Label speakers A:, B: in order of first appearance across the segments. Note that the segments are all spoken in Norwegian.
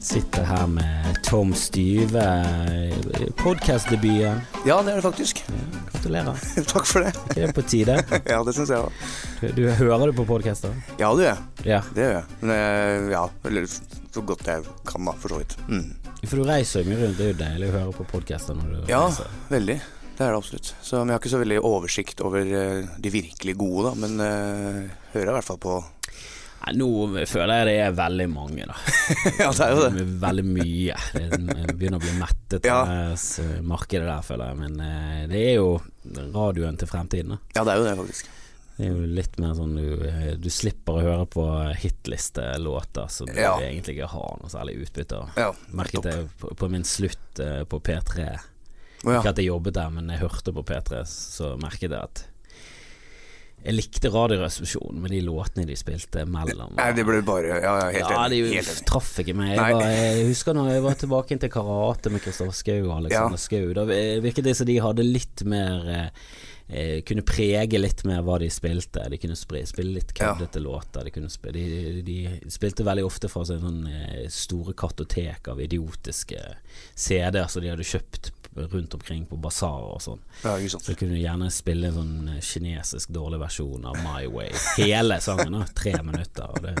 A: Sitter her med Tom Styve. Podkastdebuten.
B: Ja, det er det faktisk.
A: Gratulerer.
B: Takk for det.
A: Det er på tide.
B: Ja, det syns jeg òg.
A: Du, du hører du på podkaster?
B: Ja, det gjør jeg.
A: Ja.
B: Det gjør jeg. Men eh, ja, eller så godt jeg kan, da, for så vidt. Mm.
A: For du reiser jo mye rundt. Det er jo deilig å høre på podkaster når du
B: Ja,
A: reiser.
B: veldig. Det er det absolutt. Så, men jeg har ikke så veldig oversikt over eh, de virkelig gode, da. Men eh, hører jeg i hvert fall på
A: Nei, nå føler jeg det er veldig mange, da.
B: Ja, det er jo det.
A: Veldig mye. Det er- begynner å bli mettet
B: Ja.
A: av det s- markedet der, føler jeg. Men eh, det er jo radioen til fremtiden. Da.
B: Ja, det er jo det, faktisk.
A: Det er jo litt mer sånn du, eh, du slipper å høre på hitlistelåter som du
B: Ja.
A: egentlig ikke har noe særlig utbytte av.
B: Ja,
A: Merket
B: nettopp.
A: det på, på min slutt eh, på P3.
B: Å, ja.
A: Ikke at jeg jobbet der, men jeg hørte på P3, så merket jeg at jeg likte Radioresepsjonen med de låtene de spilte mellom.
B: Nei, det ble bare Ja, ja, helt
A: ja,
B: enig.
A: de
B: Helt enig.
A: traff ikke meg. Jeg,
B: Nei.
A: var, jeg husker når jeg var tilbake inn til karate med Kristoffer Schou og Alexander
B: Ja.
A: Schou. Da virket det som de hadde litt mer eh, eh, Kunne prege litt mer hva de spilte. De kunne spri- spille litt
B: Ja.
A: køddete låter. De, kunne spille, de, de, de spilte veldig ofte fra sånne sånn, eh, store kartotek av idiotiske CD-er som de hadde kjøpt rundt omkring på basarer og sånn.
B: Ja, ikke sant.
A: Så kunne du gjerne spille en sånn eh, kinesisk dårlig versjon av My Way. Hele sangen, da. Tre minutter. Og det,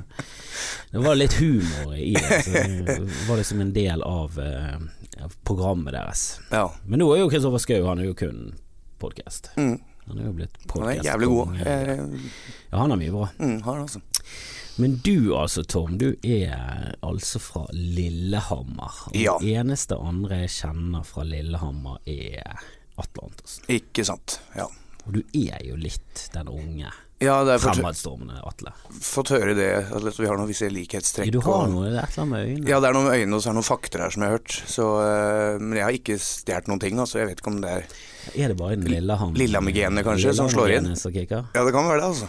A: det var litt humor i det. Så det var liksom en del av, eh, av programmet deres.
B: Ja.
A: Men nå er jo Kristoffer Schou Han er jo kun podkast.
B: Mm.
A: Han er jo blitt
B: Han er
A: podkast.
B: jævlig god. Eh,
A: Ja, han er mye bra.
B: Mm, han er det, altså.
A: Men du altså, Tom. Du er altså fra Lillehammer. Og
B: Ja.
A: det eneste andre jeg kjenner fra Lillehammer, er Atle Antonsen.
B: Ikke sant. Ja.
A: Og du er jo litt den unge.
B: Ja, det er fått,
A: Fremadstormende, Atle.
B: fått høre det, at vi har noen visse likhetstrekk.
A: Du har
B: og-
A: noe, det er et eller annet med øynene.
B: Ja, det er noe med øynene og så er det noen fakter her som jeg har hørt. Så, øh, men jeg har ikke stjålet noen ting. Altså. Jeg vet ikke om det er
A: Er det bare den Lillehammer
B: Lillehammer-genet kanskje som slår inn?
A: Lillehammer-genet som kicker?
B: Ja, det kan være det, altså.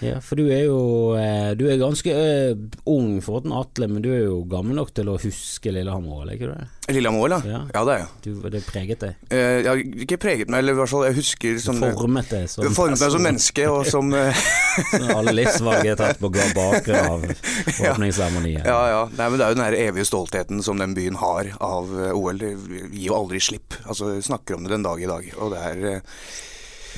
A: Ja, for du er jo eh, Du er ganske eh, ung for den Atle, men du er jo gammel nok til å huske Lillehammer òg, er ikke du det?
B: Lillehammer Ål, ja.
A: Ja.
B: Ja, det er jeg.
A: Du, det preget deg.
B: Eh, Jeg har ikke preget meg, eller i hvert fall jeg husker
A: Du
B: som
A: formet deg som
B: Det formet meg som
A: person.
B: menneske, og som eh,
A: Som Alle livsvalg er tatt på ga- bakgrunn av
B: Ja.
A: åpningsseremonien.
B: Ja, ja. Nei, men det er jo den her evige stoltheten som den byen har av eh, OL. Det gir jo aldri slipp. Altså, vi snakker om det den dag i dag. Og det er eh,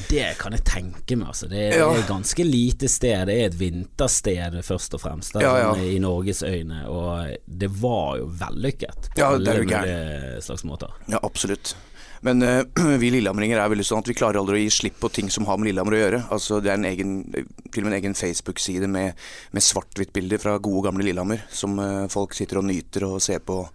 A: Det kan jeg tenke meg, altså. Det er,
B: Ja.
A: det er ganske lite sted. Det er et vintersted først og fremst da,
B: Ja, ja.
A: sånn i Norges øyne, og det var jo vellykket på
B: Ja, det
A: alle
B: er jo
A: mulige slags måter.
B: Ja, absolutt. Men eh, vi lillehamringer er veldig sånn at vi klarer aldri å gi slipp på ting som har med Lillehammer å gjøre. Altså, det er en egen, til og med en egen Facebook-side med, med svart-hvitt-bilder fra gode, gamle Lillehammer, som eh, folk sitter og nyter og ser på.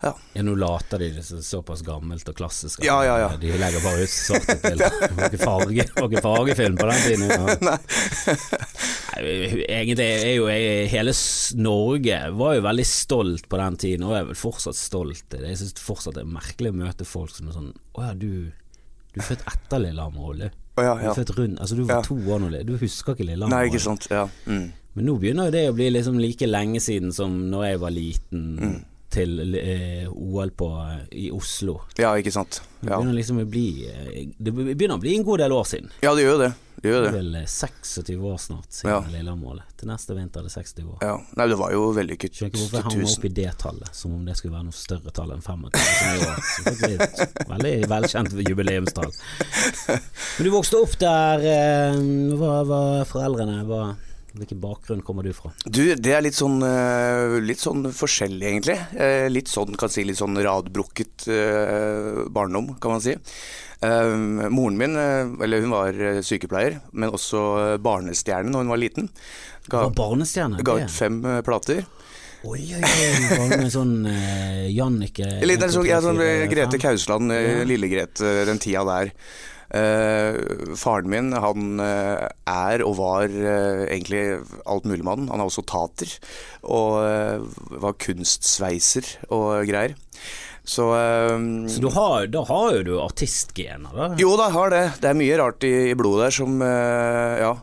B: Ja,
A: Ja, nå later de det så- såpass gammelt og klassisk. at
B: Ja, ja, ja.
A: De legger bare ut svart bilder. Det var ikke farge, det var ikke fargefilm på den tiden. Ja. Nei, Egentlig er jo jeg, hele s- Norge var jo veldig stolt på den tiden, og er vel fortsatt stolt. Jeg syns fortsatt det er merkelig å møte folk som er sånn Å ja, du, du er født etter Lillehammer, Olle.
B: Å, ja,
A: Du er
B: ja.
A: født rundt, altså du var
B: Ja.
A: to år nå, du husker ikke Lillehammer.
B: Nei,
A: Olle.
B: ikke sant. Ja. Mm.
A: Men nå begynner jo det å bli liksom like lenge siden som når jeg var liten
B: Mm.
A: til eh, OL på, eh, i Oslo.
B: ja, ikke sant.
A: Det
B: Ja.
A: begynner liksom å bli eh, Det begynner å bli en god del år siden.
B: ja, det gjør jo det. Det gjør
A: Det
B: jo
A: er
B: det.
A: vel eh, 26 år snart siden
B: Ja.
A: Lillehammer-målet. Til neste vinter er det 60 år.
B: Ja. Nei, det var jo vellykket.
A: Skjønner ikke hvorfor jeg hang meg opp i det tallet, som om det skulle være noe større tall enn 25. som jo er selvfølgelig et Veldig velkjent jubileumstall. Men du vokste opp der. eh, Hva var foreldrene? Hva, hvilken bakgrunn kommer du fra?
B: Du, det er litt sånn, eh, litt sånn forskjellig, egentlig. Eh, Litt sånn, kan si, litt sånn radbrukket eh, barndom, kan man si. Eh, Moren min, eh, eller hun var eh, sykepleier, men også eh, barnestjerne når hun var liten. Ga,
A: Var barnestjerne?
B: ga
A: det?
B: ut fem eh, plater.
A: Oi, oi, oi. Var det med sånn uh, Jannicke
B: Eller litt, sånn, ja, sånn, eh,
A: 1, 2, 3, 4,
B: Grete
A: 5.
B: Kausland, eh,
A: Ja.
B: Lille Grete, den tida der. Eh, faren min han eh, er og var eh, egentlig altmuligmann. Han er også tater. Og eh, var kunstsveiser og greier. Så eh,
A: Så du har, da har jo du artistgener, da.
B: Jo da, har det. Det er mye rart i, i blodet der som eh, Ja.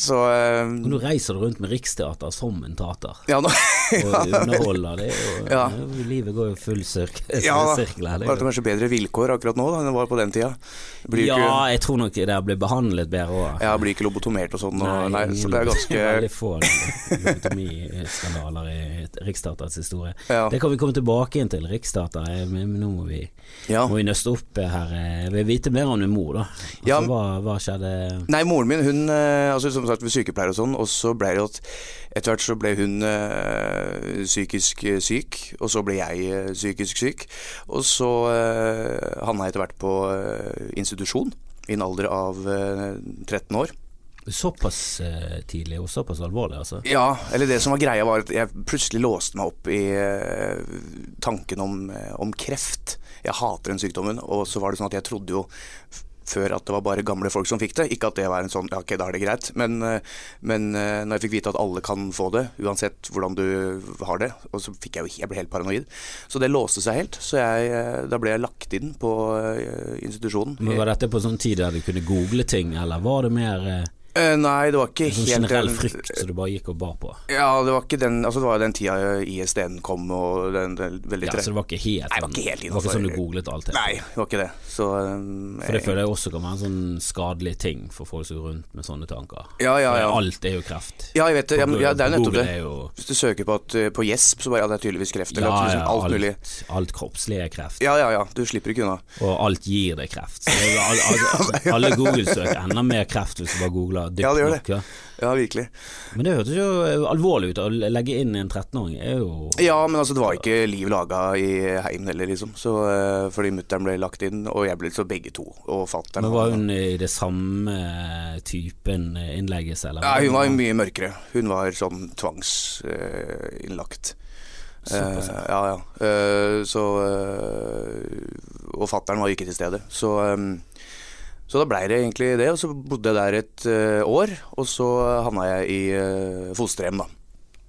B: Så eh,
A: Og nå reiser du rundt med Riksteater som en tater.
B: ja, nå,
A: Og underholder. Det er jo,
B: Ja.
A: det er jo- Livet går jo full sirk,
B: Ja, da.
A: sirkel her. det er
B: Bare at det
A: jo-
B: er kanskje bedre vilkår akkurat nå da, enn det var på den tida. Det Blir
A: Ja,
B: jo ikke,
A: jeg tror nok det blir behandlet bedre òg.
B: ja, blir ikke lobotomert og sånn, og, nei, så det er ganske
A: Veldig få lobotomiskandaler i Rikstaters historie.
B: Ja.
A: Det kan vi komme tilbake igjen til, Rikstater. eh, Men nå må vi,
B: ja.
A: må vi nøste opp eh, her. eh. Jeg vil vite mer om din mor, da. Altså,
B: Ja.
A: hva, hva skjedde?
B: Nei, moren min, hun eh, altså som sagt, var sykepleier og sånn, og så ble det jo at etter hvert så ble hun eh, psykisk eh, syk, og så ble jeg eh, psykisk syk. Og så eh, havna jeg etter hvert på eh, institusjon i en alder av eh, 13 år.
A: Såpass eh, tidlig og såpass alvorlig, altså?
B: Ja, eller det som var greia var at jeg plutselig låste meg opp i eh, tanken om, eh, om kreft. Jeg hater den sykdommen, og så var det sånn at jeg trodde jo f- før at det var bare gamle folk som fikk det. Ikke at det var en sånn ja, ok, da er det greit. Men, eh, men eh, når jeg fikk vite at alle kan få det, uansett hvordan du har det, og så fikk jeg jo jeg ble helt paranoid. Så det låste seg helt. Så jeg, eh, da ble jeg lagt inn på eh, institusjonen.
A: Men Var dette på sånn tid der du kunne google ting, eller var det mer eh,
B: Eh, nei, det var ikke
A: sånn
B: helt
A: generell
B: en-
A: frykt som du bare gikk og bar på?
B: Ja, det var ikke den Altså det var jo den tida ISD-en kom og den, den veldig
A: Ja,
B: tre...
A: så det var ikke helt
B: Nei, det var
A: sånn-
B: ikke helt
A: det var ikke sånn du
B: innenfor.
A: googlet alt? helt.
B: Nei, det var ikke det. Så um,
A: For det føler jeg også kan være en sånn skadelig ting for folk som går rundt med sånne tanker.
B: Ja, ja,
A: For
B: ja.
A: Alt er jo kreft.
B: Ja, jeg vet det. Ja, men, ja, det er jo nettopp
A: Google
B: det.
A: er jo
B: Hvis du søker på, at, eh, på gjesp, så bare ja, det er tydeligvis kreft. Eller at liksom alt, mulig.
A: alt, alt kroppslig er kreft,
B: Ja, ja, ja. Du slipper ikke unna.
A: og alt gir deg kreft. Så det er jo al- al- al- alle Google-søk ender mer kreft hvis du bare googler dypt
B: Ja, det gjør
A: nok. Ja.
B: Ja, virkelig.
A: Men det hørtes jo alvorlig ut. Å legge inn en 13-åring er jo
B: Ja, men altså det var ikke liv laga i heimen heller, liksom. Så, eh, fordi mutter'n ble lagt inn, og jeg ble så begge to. Og fatter'n
A: Men Var hun i det samme typen innleggelse, eller?
B: Ja, hun var jo mye mørkere. Hun var sånn tvangsinnlagt.
A: Såpass,
B: ja, ja. Eh, så eh, Og fattern var jo ikke til stede. Så, eh, så da blei det egentlig det. Og så bodde jeg der et eh, år, og så havna jeg i eh, fosterhjem, da.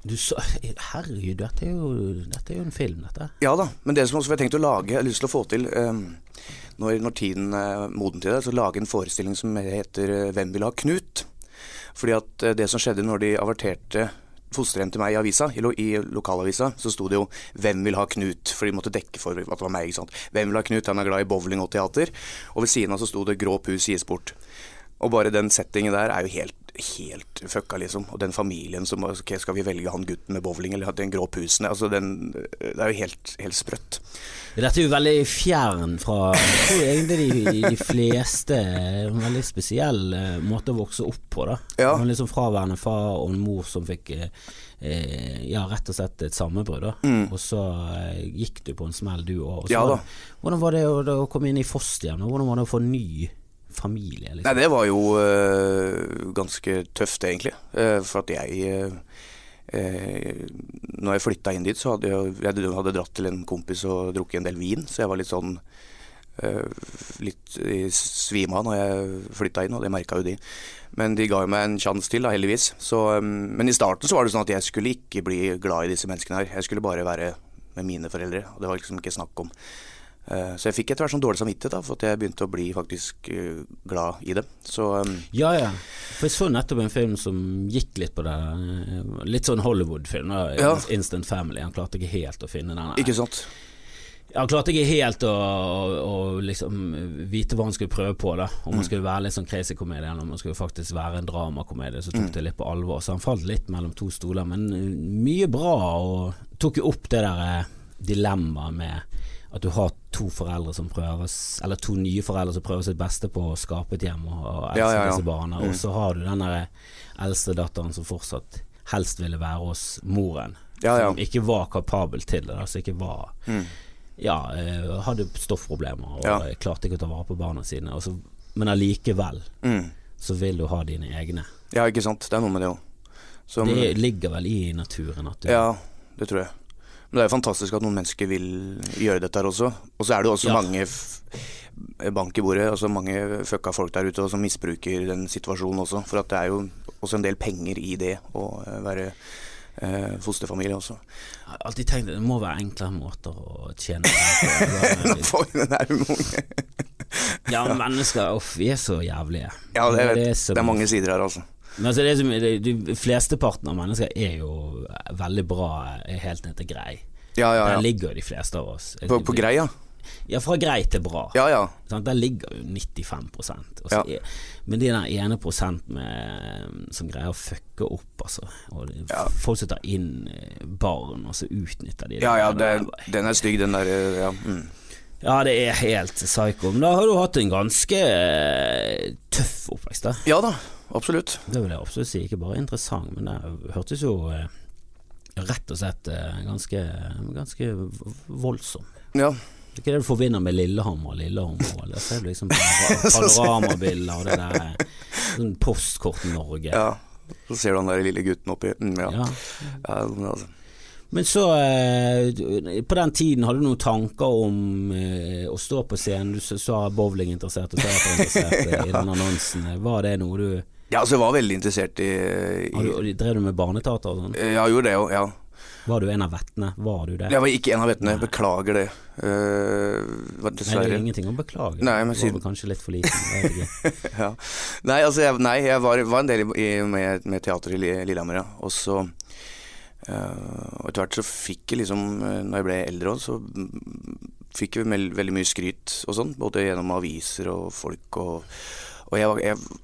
A: Du så, herregud, dette er, jo, dette er jo en film, dette.
B: Ja da, men det som også jeg har tenkt å lage, jeg har lyst til å få til eh, når, når tiden er moden til det, så lage en forestilling som heter eh, 'Hvem vil ha Knut'? Fordi at eh, det som skjedde når de averterte fosterhjem til meg i avisa, i, lo, i lokalavisa, så sto det jo 'Hvem vil ha Knut?' For de måtte dekke for at det var meg. ikke sant? 'Hvem vil ha Knut?' Han er glad i bowling og teater. Og ved siden av så sto det 'Grå pus sies bort'. Og bare den settingen der er jo helt Helt fucka, liksom. Og den familien som ok, Skal vi velge han gutten med bowling eller den grå pusen? Altså, den, det er jo helt, helt sprøtt.
A: Dette er jo veldig fjern fra jeg tror egentlig de, de fleste En veldig spesiell eh, måte å vokse opp på, da.
B: Ja.
A: En liksom fraværende far og en mor som fikk eh, eh, ja, rett og slett et sammenbrudd, da. Og så eh, gikk du på en smell, du òg.
B: Mm. Ja da.
A: Hvordan var det å, da å komme inn i fosterhjem? da? Hvordan var det å få ny familie? Liksom?
B: Nei, det var jo øh, ganske tøft, egentlig. Eh, for at jeg øh, eh, Når jeg flytta inn dit, så hadde jeg, jeg hadde dratt til en kompis og drukket en del vin, så jeg var litt sånn eh, Litt i svime av når jeg flytta inn, og det merka jo de. Men de ga jo meg en sjanse til, da, heldigvis. Så, eh, men i starten så var det sånn at jeg skulle ikke bli glad i disse menneskene her. Jeg skulle bare være med mine foreldre, og det var liksom ikke snakk om. Eh, Så jeg fikk etter hvert sånn dårlig samvittighet da, for at jeg begynte å bli faktisk eh, glad i det. Så eh,
A: Ja, ja. For jeg så nettopp en film som gikk litt på det. eh, Litt sånn Hollywood-film. da.
B: Ja.
A: Instant Family. Han klarte ikke helt å finne den.
B: ikke sant?
A: Han klarte ikke helt å, å, å liksom vite hva han skulle prøve på. da Om
B: Mm.
A: han skulle være litt sånn crazy komedie eller om han skulle faktisk være en dramakomedie. Så tok
B: Mm.
A: det litt på alvor. Så han falt litt mellom to stoler, men eh, mye bra. Og tok jo opp det der eh, dilemmaet med at du har to foreldre som prøves Eller to nye foreldre som prøver sitt beste på å skape et hjem og, og elske
B: Ja, ja, Mm. ja.
A: disse barna. Og så har du den der eh, eldste datteren som fortsatt helst ville være hos moren.
B: Ja, ja.
A: Som ikke var kapabel til det. Altså ikke var ja, eh, hadde stoffproblemer og
B: Ja.
A: klarte ikke å ta vare på barna sine. Og så, men allikevel
B: Mm.
A: så vil du ha dine egne.
B: Ja, ikke sant? Det er noe med det òg. Som
A: Det ligger vel i naturen at du
B: Ja, det tror jeg. Men det er jo fantastisk at noen mennesker vil gjøre dette her også. Og så er det jo også
A: Ja.
B: mange f bank i bordet, altså mange fucka folk der ute og som misbruker den situasjonen også. For at det er jo også en del penger i det å eh, være eh, fosterfamilie også.
A: Jeg har alltid tenkt at det må være enklere måter å tjene penger på.
B: Folk, det er jo mange.
A: Ja, men mennesker uff, vi er så jævlige.
B: Ja, det,
A: Det
B: det,
A: er så-
B: det er mange sider her, altså.
A: Men altså, det som, det, de flesteparten av mennesker er jo veldig bra er helt ned til grei.
B: Ja, ja,
A: Der
B: ja.
A: ligger jo de fleste av oss.
B: På, på greia.
A: Ja, fra grei til bra.
B: Ja, ja.
A: Sant? Der ligger jo 95 og så
B: Ja.
A: er, Men det er den ene prosenten med, som greier å fucke opp, altså. Og det,
B: Ja.
A: Folk som tar inn eh, barn, og så utnytter de det.
B: Ja, ja,
A: Det
B: det,
A: er bare-
B: den er stygg, den derre ja. mm.
A: Ja, det er helt psycho. Men da har du hatt en ganske eh, tøff oppvekst, da.
B: ja da, absolutt.
A: Det vil jeg absolutt si. Ikke bare interessant, men det hørtes jo eh, rett og slett eh, ganske, ganske voldsom.
B: Ja.
A: Det er ikke det du forbinder med Lillehammer, Lillehammer. og Det er jo liksom
B: Så ser-
A: panoramabilder og det der eh, sånn Postkort-Norge.
B: ja. Så ser du han der lille gutten oppi mm, ja.
A: Ja.
B: Ja, men altså.
A: Men så, eh, du- på den tiden, hadde du noen tanker om eh, å stå på scenen? Du s- sa bowlinginteressert og teaterinteressert eh, i den annonsen. Var det noe du
B: ja, altså jeg var veldig interessert i,
A: har
B: i
A: du- Drev du med barneteater og sånn?
B: Ja, jeg gjorde det òg, ja.
A: Var du en av vettene? Var du det?
B: Jeg var ikke en av vettene, beklager det. Eh,
A: Nei,
B: var
A: det
B: dessverre.
A: er ingenting å beklage.
B: Nei,
A: Du
B: men
A: var
B: siden-
A: vel kanskje litt for liten. Jeg vet ikke.
B: ja. Nei, altså, jeg, nei, jeg var, var en del i, i, med, med teater i Li- Lillehammer, ja. Og så eh, Og etter hvert så fikk jeg liksom eh, Når jeg ble eldre òg, så mm, fikk jeg mel- veldig mye skryt og sånn. Både gjennom aviser og folk og Og jeg var jeg, har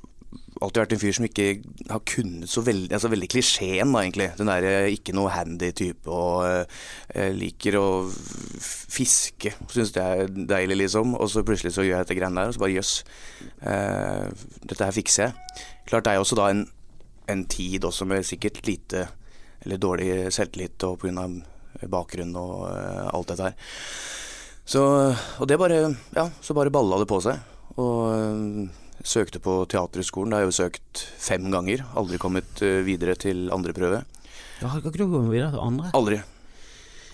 B: alltid vært en fyr som ikke har kunnet så veldig Altså veldig klisjeen, da, egentlig. Den derre ikke noe handy type og eh, liker å f- fiske. Syns det er deilig, liksom. Og så plutselig så gjør jeg dette greiene der, og så bare jøss. Eh, dette her fikser jeg. Klart det er jo også da en, en tid også med sikkert lite eller dårlig selvtillit og pga. bakgrunn og eh, alt dette her. Så, og det bare, ja, så bare balla det på seg. Og eh, søkte på Teaterhøgskolen. Da har jeg jo søkt fem ganger. Aldri kommet eh, videre til andre prøve.
A: Ja, Kan ikke du gå videre til andre?
B: Aldri.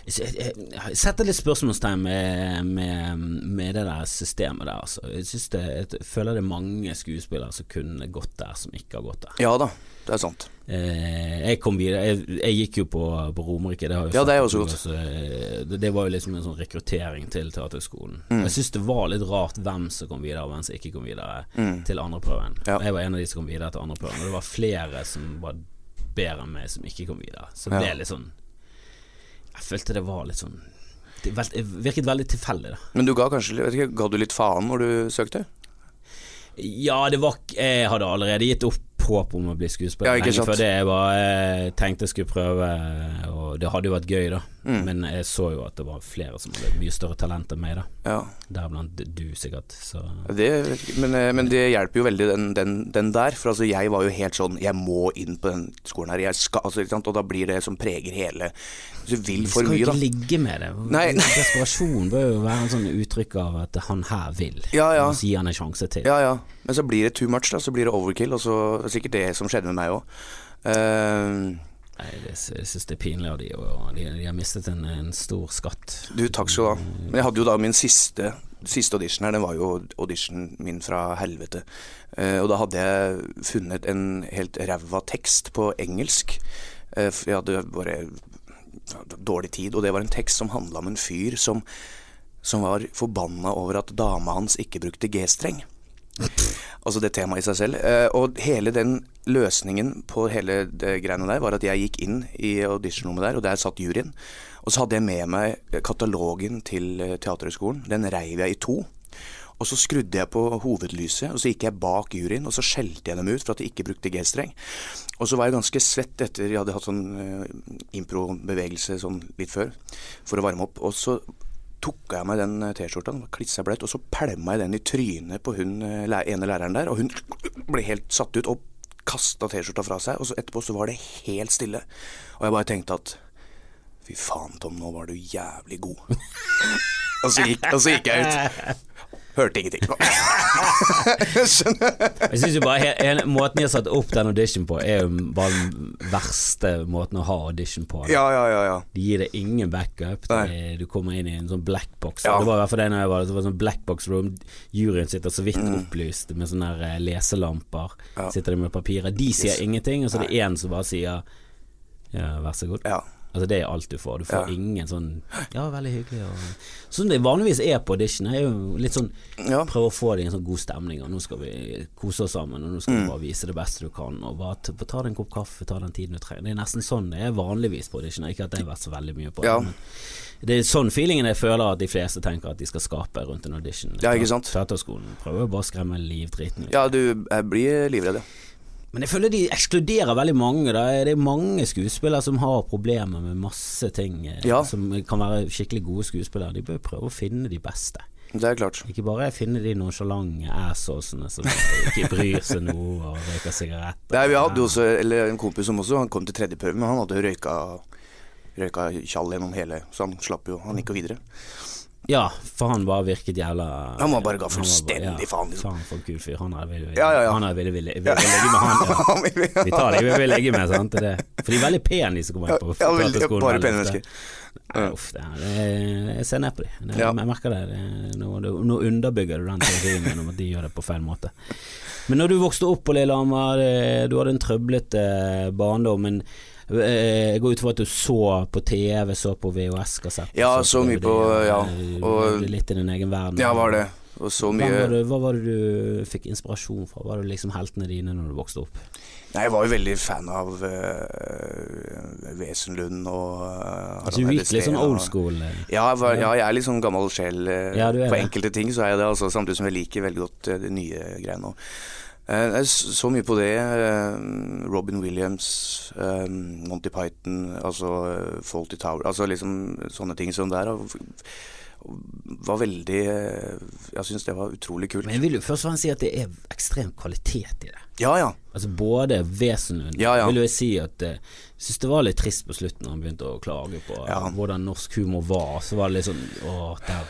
A: Jeg- jeg- jeg setter litt spørsmålstegn med, med, med det der systemet der, altså. Jeg, synes det, jeg føler det er mange skuespillere som kunne gått der, som ikke har gått der.
B: Ja da, det er sant.
A: Eh, jeg kom videre. Jeg, jeg gikk jo på, på Romerike. Det har jeg jo
B: Ja,
A: sagt
B: det er
A: at
B: jo så
A: du
B: godt.
A: eh, det, det var jo liksom en sånn rekruttering til Teaterhøgskolen.
B: Mm.
A: Jeg syns det var litt rart hvem som kom videre, og hvem som ikke kom videre
B: Mm.
A: til andreprøven.
B: Ja.
A: Jeg var en av de som kom videre til andreprøven, og det var flere som var bedre enn meg, som ikke kom videre. Så
B: Ja.
A: det er litt sånn Jeg følte det var litt sånn Det vel- virket veldig tilfeldig, da.
B: Men du ga kanskje vet ikke, ga du litt faen når du søkte?
A: Ja, det var k- Jeg hadde allerede gitt opp håp om å bli skuespiller
B: Ja, ikke
A: lenge
B: sant?
A: før det. Jeg bare eh, tenkte jeg skulle prøve, og det hadde jo vært gøy, da.
B: Mm.
A: Men jeg så jo at det var flere som hadde mye større talent enn meg, da.
B: Ja,
A: Deriblant du, sikkert. Så
B: det, vet ikke, men, eh, men det hjelper jo veldig den, den, den der. For altså jeg var jo helt sånn Jeg må inn på den skolen her. Jeg skal, altså, ikke sant? Og da blir det som preger hele Du vil
A: Vi skal
B: for
A: jo
B: mye,
A: ikke
B: da.
A: ligge med det.
B: Nei, nei.
A: Desperasjon bør jo være en sånn uttrykk av at han her vil.
B: Ja, ja.
A: Og så gir han en sjanse til.
B: Ja, ja. Men så blir det too much, da. Så blir det overkill. Og så det er sikkert det som skjedde med meg Eh, òg.
A: Nei, det, sy- jeg syns det er pinlig av de, og de, de har mistet en, en stor skatt.
B: du, takk skal du ha. Men jeg hadde jo da min siste, siste audition her. Den var jo auditionen min fra helvete. Eh, og da hadde jeg funnet en helt ræva tekst på engelsk. Eh, for jeg hadde bare dårlig tid. Og det var en tekst som handla om en fyr som, som var forbanna over at dama hans ikke brukte G-streng. Altså det temaet i seg selv. Eh, og hele den løsningen på hele det greiene der, var at jeg gikk inn i auditionrommet der, og der satt juryen. Og så hadde jeg med meg katalogen til eh, Teaterhøgskolen. Den reiv jeg i to. Og så skrudde jeg på hovedlyset, og så gikk jeg bak juryen, og så skjelte jeg dem ut for at de ikke brukte G-streng. Og så var jeg ganske svett etter jeg hadde hatt sånn eh, improbevegelse sånn litt før, for å varme opp. Og så tok jeg av meg den eh, T-skjorta, den var klissa blaut, og så pælma jeg den i trynet på hun eh, læ- ene læreren der, og hun ble helt satt ut og kasta T-skjorta fra seg, og så etterpå så var det helt stille. Og jeg bare tenkte at fy faen, Tom, nå var du jævlig god. og, så gikk, og så gikk jeg ut. Hørte ingenting. Skjønner?
A: Jeg synes jo bare he- hele Måten de har satt opp den audition på, er jo bare den verste måten å ha audition på.
B: Ja, ja, ja. ja.
A: De gir deg ingen backup. Det- Du kommer inn i en sånn blackbox.
B: Ja.
A: Det var i hvert fall det når jeg var der. så var det sånn blackbox room. Juryen sitter så vidt opplyst med sånne her eh, leselamper. Sitter de med papirer. De sier ingenting, og så er det én som bare sier Ja, vær så god.
B: ja.
A: Altså Det er alt du får. Du får
B: Ja.
A: ingen sånn Ja, veldig hyggelig og Sånn det vanligvis er på audition, er jo litt sånn
B: Ja.
A: Prøve å få deg i en sånn god stemning, og nå skal vi kose oss sammen, og nå
B: Mm.
A: skal vi bare vise det beste du kan, og bare t- ta deg en kopp kaffe, ta den tiden du trenger. Det er nesten sånn det er vanligvis på audition. Ikke at det har vært så veldig mye på
B: Ja.
A: det, men det er sånn feelingen jeg føler at de fleste tenker at de skal skape rundt en audition.
B: Ja, ikke sant?
A: Teaterskolen prøver bare å skremme livdriten.
B: ja, du jeg blir livredd, ja.
A: Men jeg føler de ekskluderer veldig mange. Da. Det er mange skuespillere som har problemer med masse ting, eh,
B: Ja.
A: som kan være skikkelig gode skuespillere. De bør prøve å finne de beste.
B: Det er klart.
A: Ikke bare finne de nonsjalante assholesene som ikke bryr seg noe og røyker sigaretter.
B: Nei, vi hadde jo også, eller en kompis som også, han kom til tredje prøve, men han hadde jo røyka Røyka tjall gjennom hele, så han slapp jo, han gikk jo videre.
A: Ja, for han bare virket jævla
B: Han var bare ga
A: han var
B: fullstendig faen, liksom.
A: Faen for en kul fyr. Han er veldig
B: Ja, ja, ja.
A: Han er veldig villig. Vi vil legge med han. Ja. Vi tar det, vi vil legge med, sant. Det. er det. For de er veldig pene, de som kommer
B: Ja,
A: inn på
B: ja, veldig-
A: teaterskolen
B: bare
A: veldig
B: pene
A: ofte.
B: mennesker.
A: Nei, uff, det er, det- jeg ser ned på dem.
B: Ja.
A: Jeg merker det. det. Nå, nå- nå underbygger du den teorien min om at de gjør det på feil måte. Men når du vokste opp på Lillehammer, eh, du hadde en trøblete eh, barndom. Men eh, jeg går ut fra at du så på TV, så på VHS-kassetter.
B: Ja, så mye på- ja, og-
A: Og eh, litt i din egen verden.
B: Ja, var det. Og så
A: Hvem
B: mye
A: Var det, hva var det du fikk inspirasjon fra? Var det liksom heltene dine når du vokste opp?
B: Nei, jeg var jo veldig fan av eh, Wesenlund og eh, Harald
A: Altså, du gikk
B: Eide
A: litt
B: Steen
A: sånn
B: og-
A: old school? eh.
B: Ja, jeg var, ja, jeg er litt sånn gammel sjel eh,
A: Ja, du er
B: på
A: det.
B: enkelte ting, så er jeg det altså, samtidig som jeg liker veldig godt eh, de nye greiene. Og, eh, jeg s- så mye på det. eh, Robin Williams, eh, Monty Python, altså eh, Fawlty Tower Altså liksom sånne ting som der. Og, og var veldig eh, Jeg syns det var utrolig kult.
A: Men jeg vil jo først og fremst si at det er ekstrem kvalitet i det.
B: Ja ja.
A: Altså Både Wesenlund
B: Ja, ja.
A: vil jo jeg si at eh, Jeg syns det var litt trist på slutten når han begynte å klage på eh,
B: Ja.
A: hvordan norsk humor var. Så var det litt sånn Åh, der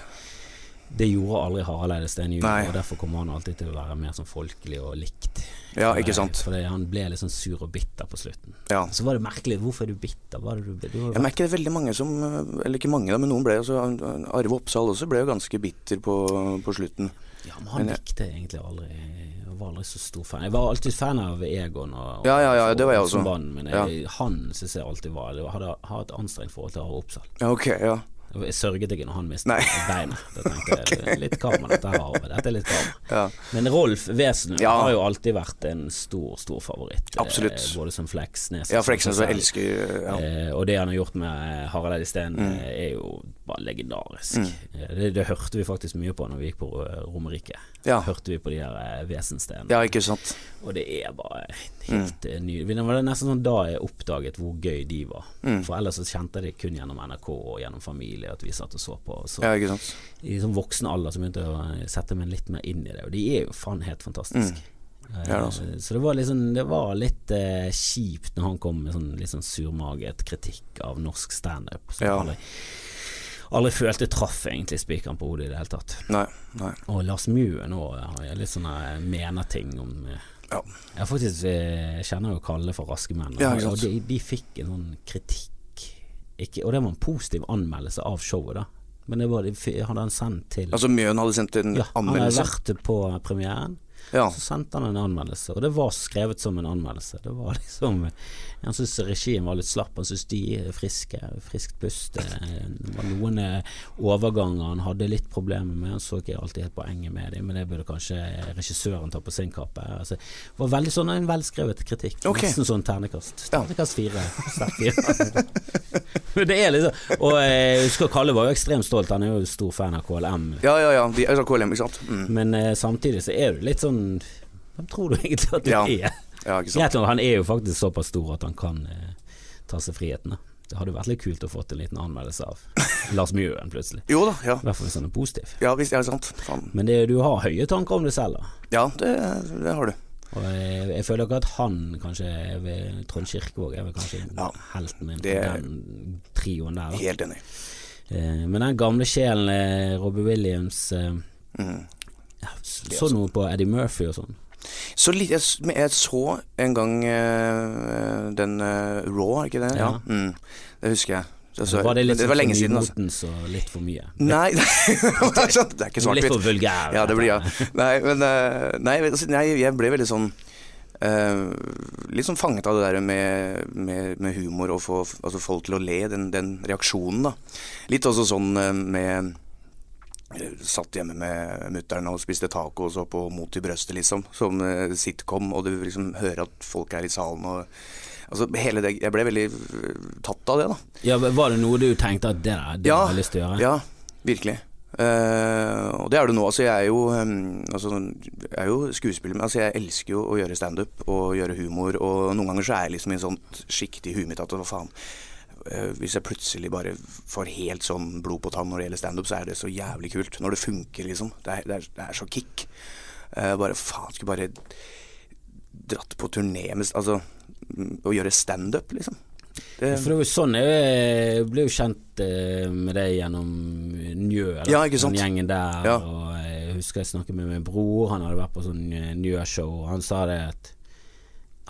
A: Det gjorde aldri Harald Eide Steen jr.,
B: Nei.
A: og derfor kommer han alltid til å være mer sånn folkelig og likt. Eh,
B: Ja, ikke sant.
A: Fordi han ble litt sånn sur og bitter på slutten.
B: ja.
A: Så var det merkelig. Hvorfor er du bitter? Hva er det du, du, har
B: Jeg merker det er veldig mange som eh, Eller ikke mange, da, men noen ble altså, Arve Oppsal også ble jo ganske bitter på, på slutten.
A: Ja, men han
B: Men jeg-
A: likte egentlig aldri Jeg var aldri så stor fan. Jeg var alltid fan av Egon og, og
B: Ja, ja, ja, det var jeg
A: og- som
B: også.
A: barn, men jeg, han syns jeg alltid var Jeg hadde hatt et anstrengt forhold til Are Opsahl.
B: Ja, ok, ja.
A: Jeg sørget ikke når han mistet
B: Nei.
A: beinet. Da tenkte jeg det er litt karma, dette her, Arve. Dette er litt karma.
B: Ja.
A: Men Rolf Wesenlund
B: Ja.
A: har jo alltid vært en stor, stor favoritt. eh,
B: Absolutt.
A: Både som Fleksnes
B: Ja,
A: og som
B: Fleksnes
A: seg
B: jeg
A: selv.
B: elsker ja. Mm.
A: Eh, og det han har gjort med Harald Eide Steen, eh, er jo bare legendarisk. Eh, Det, det hørte vi faktisk mye på når vi gikk på eh, Romerike.
B: Ja.
A: Hørte vi på de der eh, vesenstenene.
B: ja, ikke sant.
A: Og det er bare helt mm. nydelig. Det var nesten sånn da jeg oppdaget hvor gøy de var.
B: Mm.
A: For ellers så kjente jeg det kun gjennom NRK og gjennom familie at vi satt og så på. Og så
B: Ja, ikke sant.
A: i sånn voksen alder så begynte jeg å eh, sette meg litt mer inn i det, og de er jo faen helt
B: Mm.
A: fantastiske. Eh,
B: Ja, altså.
A: Så det var, liksom, det var litt eh, kjipt når han kom med sånn litt sånn surmaget kritikk av norsk standup. Som
B: Ja.
A: aldri, aldri følte traff egentlig spikeren på hodet i det hele tatt.
B: Nei, nei.
A: Og Lars Mue nå har jeg litt sånne eh, mener-ting om eh,
B: Ja.
A: Jeg faktisk eh, kjenner jo Kalle for Raske menn,
B: Ja, ikke
A: og
B: sant.
A: de, de fikk en sånn kritikk ikke, Og det var en positiv anmeldelse av showet, da. Men det var, de fi- hadde han sendt til
B: Altså Mjøen hadde sendt en
A: ja, han hadde
B: anmeldelse.
A: vært på premieren,
B: Ja.
A: så sendte han en anmeldelse, og det var skrevet som en anmeldelse. Det var liksom Han syntes regien var litt slapp, han syntes de friske, friskt pust eh, Det var noen eh, overganger han hadde litt problemer med, han så ikke alltid helt poenget med dem, men det burde kanskje regissøren ta på sin kappe. Altså, det var veldig sånn en velskrevet kritikk,
B: Ok.
A: nesten sånn ternekast.
B: Ja.
A: Ternekast fire. Sterk fire. Men det er liksom Og eh, jeg husker Kalle var jo ekstremt stolt, han er jo stor fan av KLM.
B: ja, ja, ja. De, altså KLM, ikke sant. Mm.
A: Men eh, samtidig så er du litt sånn Hvem tror du egentlig at du
B: Ja,
A: er?
B: Ja, ikke sant.
A: Greit nok, han er jo faktisk såpass stor at han kan eh, ta seg frihetene. Det hadde jo vært litt kult å få en liten anmeldelse av Lars Mjøen plutselig.
B: Jo da, ja.
A: I hvert fall hvis han er positiv.
B: Ja, visst, ja, sant. Faen.
A: Men det, du har høye tanker om deg selv, da.
B: Ja, det, det har du.
A: Og jeg, jeg føler ikke at han kanskje er ved Trond Kirkevåg er vel kanskje
B: Ja,
A: helten min på
B: det-
A: den trioen der. Da.
B: Helt enig.
A: Eh, men den gamle sjelen, eh, Robbie Williams eh,
B: Mm.
A: ja, så, så noe på Eddie Murphy og sånn.
B: Så litt, jeg, s- men jeg så en gang eh, den eh, Raw, er ikke det?
A: Ja.
B: Mm. Det husker jeg. Så, så,
A: Var det litt
B: det var
A: sånn
B: lenge siden, altså.
A: nymotens og litt for mye?
B: Nei, det er sant, det er ikke
A: Litt for
B: svart-hvitt.
A: vulgær.
B: Ja, det blir ja. Nei, men eh, nei, altså, nei, jeg ble veldig sånn eh, eh, litt sånn fanget av det der med, med, med humor og få altså folk til å le, den, den reaksjonen, da. Litt også sånn eh, med eh, Satt hjemme med mutter'n og spiste taco og så på Mot i brøstet, liksom. Som eh, sitcom, og du liksom hører at folk er i salen og Altså hele det Jeg ble veldig eh, tatt av det, da.
A: Ja, Var det noe du tenkte at det der, det har jeg lyst til å gjøre?
B: Ja, virkelig. Eh, og det er det nå. Altså, jeg er jo, eh, altså, jeg er jo skuespiller, men altså, jeg elsker jo å gjøre standup og gjøre humor. Og noen ganger så er jeg liksom i et sånt sjikt i huet mitt at hva faen. eh, hvis jeg plutselig bare får helt sånn blod på tann når det gjelder standup, så er det så jævlig kult. Når det funker, liksom. Det er, det er, det er så kick. Eh, bare faen, skulle bare dratt på turné med Altså, mm, å gjøre standup, liksom. Det,
A: For det var jo sånn jeg ble jo kjent eh, med deg gjennom Njø. da.
B: Ja, ikke sant.
A: Den gjengen der.
B: Ja.
A: Og jeg husker jeg snakket med min bror, han hadde vært på sånn eh, Njø-show, og han sa det at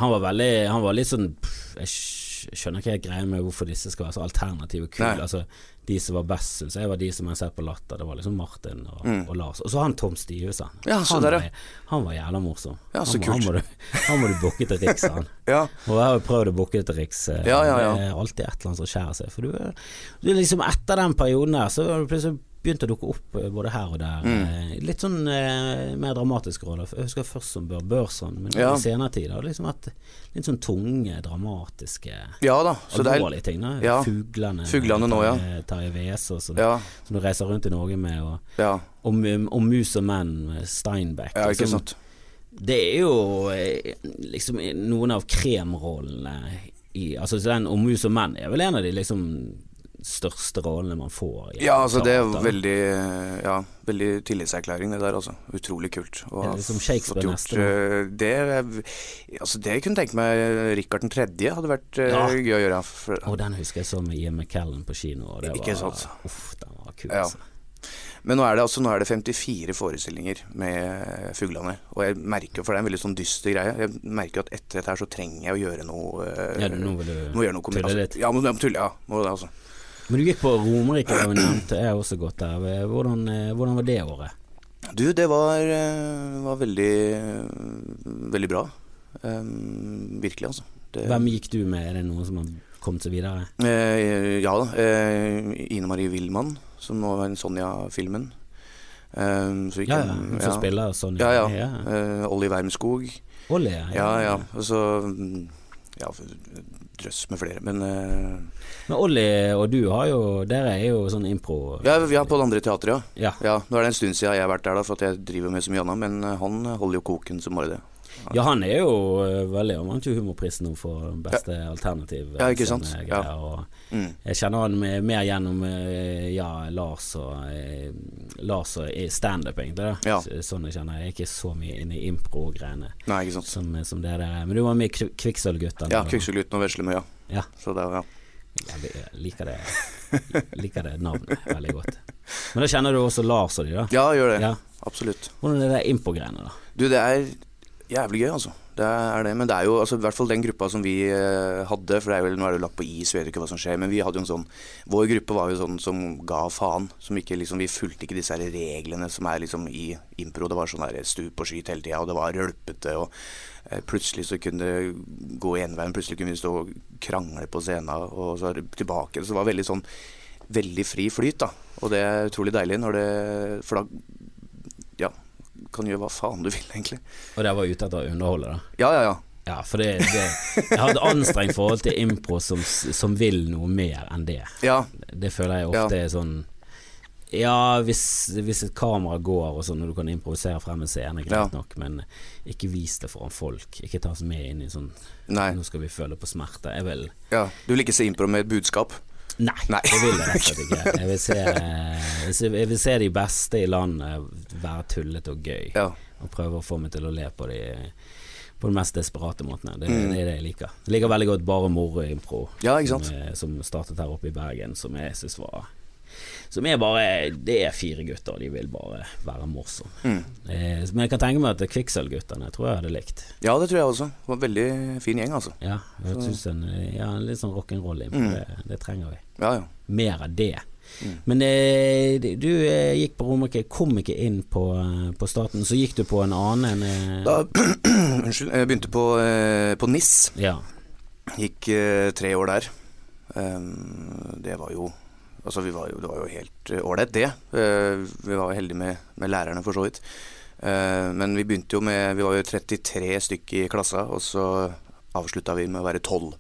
A: Han var veldig Han var litt sånn pff, Jeg skj- skjønner ikke helt greia med hvorfor disse skal være så alternative og
B: Nei.
A: kule. Altså, de som var best, syns jeg var de som jeg har sett på Latter. Det var liksom Martin og,
B: Mm.
A: og Lars. Og så han Tom Stihusen.
B: Ja, så
A: han,
B: der,
A: var- han var jævla morsom.
B: Sånn Ja, så
A: han, må- Han
B: kult.
A: må du, han må du booke til Riks, han.
B: ja.
A: Og jeg har jo prøvd å booke det til Riks. eh,
B: Ja, ja, ja.
A: Det er alltid et eller annet som skjærer seg. For du, er- du er liksom etter den perioden der, så har du plutselig begynt å dukke opp eh, både her og der.
B: Mm.
A: eh, Litt sånn eh, mer dramatisk rolle. Jeg husker først som Bør Børson, men
B: Ja.
A: i senere tid har det liksom vært litt sånn tunge, dramatiske
B: ja da. Så det er
A: Alvorlige ting. Da.
B: ja.
A: Fuglene. eh,
B: Fuglene nå, ja.
A: Terje- Terje Vesaas, som,
B: Ja.
A: som du reiser rundt i Norge med. Og,
B: ja.
A: og, Mu- og Mus og menn med Steinbeck.
B: Ja, ikke
A: liksom.
B: sant.
A: Det er jo eh, liksom noen av kremrollene i Altså den om mus og menn er vel en av de liksom største rollene man får. i
B: Ja, altså det er
A: teater.
B: veldig Ja, veldig tillitserklæring det der, altså. Utrolig kult. å
A: Er det
B: ha
A: liksom Shakespeare
B: fått
A: neste
B: eh, Det er- Altså det kunne jeg tenke meg Rikard 3. hadde vært eh,
A: Ja.
B: gøy å gjøre. For,
A: Og den husker jeg så med Ian McKellen på kino, og det var
B: Ikke sant.
A: Uff, den var kul.
B: Ja.
A: altså.
B: Men nå er det altså nå er det 54 forestillinger med eh, Fuglene. Og jeg merker jo, for det er en veldig sånn dyster greie, jeg merker jo at etter dette her så trenger jeg å gjøre noe eh,
A: Ja, nå vil du
B: Må gjøre noe
A: tulle
B: komedi-
A: litt.
B: Altså, ja, må, jeg må tulle, ja, må det, altså.
A: Men du gikk på Romerike, og nevnte jeg har også gått der. Hvordan, eh, hvordan var det året?
B: Du, det var, eh, var veldig eh, Veldig bra. Eh, virkelig, altså. Det,
A: Hvem gikk du med? Er det noen som har kommet seg videre?
B: Eh, ja da. Eh, Ine Marie Willmann, som nå var en Sonja-filmen. Eh, så gikk
A: Ja, ja.
B: hun-
A: Hun som spiller sånn.
B: Ja, ja. Eh, Olli Wermskog.
A: Olli, ja.
B: Ja, ja. Og så mm, Ja, drøss med flere. Men eh,
A: Men Olli og du har jo Dere er jo sånn impro...
B: ja, vi er på det andre teatret, ja.
A: ja.
B: ja. Nå er det en stund siden jeg har vært der, da, for at jeg driver med så mye annet. Men eh, han holder jo koken som bare det.
A: Ja, han er jo eh, veldig Han vant jo humorprisen nå for den beste alternativ. eh,
B: Ja, ikke sant?
A: scenegreier,
B: Ja.
A: og
B: Mm.
A: Jeg kjenner han med- mer gjennom eh, ja, Lars og eh, Lars og i standup, egentlig. Da.
B: Ja.
A: S- Sånn jeg kjenner. Jeg er ikke så mye inne i impro-greiene
B: Nei, ikke sant.
A: som, eh, som det der er. Men du var med i Kvi- Kvikksølvguttene.
B: Ja,
A: da.
B: Kvikksølvgutten og Veslemøya.
A: Ja.
B: Så det, er- ja.
A: Jeg jeg liker det, jeg liker det navnet veldig godt. Men da kjenner du også Lars og de, da.
B: ja, gjør det.
A: Ja.
B: Absolutt.
A: Hvordan er det der impro-greiene, da?
B: Du, det er jævlig gøy, altså. Det er det. Men det er jo altså, i hvert fall den gruppa som vi eh, hadde, for det er jo, nå er det jo lagt på is, vi vet jo ikke hva som skjer, men vi hadde jo en sånn Vår gruppe var jo sånn som ga faen. Som ikke liksom Vi fulgte ikke disse her reglene som er liksom i impro. Det var sånn der stup og skyt hele tida, og det var rølpete, og eh, plutselig så kunne det gå enveien, plutselig kunne vi stå og krangle på scenen, og så er det tilbake. Så det var veldig sånn Veldig fri flyt, da. Og det er utrolig deilig når det For da Ja, kan gjøre hva faen du vil, egentlig.
A: Og dere var ute etter å underholde, da?
B: Ja, ja, ja.
A: Ja, for det, det Jeg har et anstrengt forhold til impro som, som vil noe mer enn det.
B: Ja,
A: Det føler jeg ofte er sånn Ja, hvis, hvis et kamera går og sånn, og du kan improvisere frem en scene, greit
B: Ja.
A: nok, men ikke vis det foran folk. Ikke ta oss med inn i sånn
B: nei.
A: Nå skal vi føle på smerte. Jeg vil
B: Ja. Du vil ikke se impro med et budskap?
A: Nei,
B: Nei.
A: jeg vil det rett og slett ikke. Jeg vil se, jeg vil- jeg vil se de beste i landet være tullete og gøy,
B: Ja.
A: og prøve å få meg til å le på de på de mest desperate måtene. Det, det er det jeg liker. Jeg liker veldig godt bare moro impro.
B: Mm. Ja, ikke sant?
A: Som, eh, som startet her oppe i Bergen, som jeg synes var Som er bare Det er fire gutter, og de vil bare være morsomme.
B: Mm.
A: Eh, men jeg kan tenke meg at Kvikksølvguttene tror jeg hadde likt.
B: Ja, det tror jeg også. Det var en veldig fin gjeng, altså. Mm.
A: Ja, jeg synes en, ja en litt sånn rock'n'roll impro, det, det trenger vi.
B: Ja, ja.
A: Mer av det.
B: Mm.
A: Men eh, du eh, gikk på Romerike, kom ikke inn på, eh, på staten, så gikk du på en annen en, eh,
B: Da Unnskyld. Jeg begynte på, eh, på NIS.
A: Ja.
B: Gikk eh, tre år der. Ehm, det var jo Altså, vi var jo, det var jo helt eh, ålreit, det. Eh, vi var jo heldige med, med lærerne, for så vidt. Eh, men vi begynte jo med Vi var jo 33 stykk i klassa, og så avslutta vi med å være 12.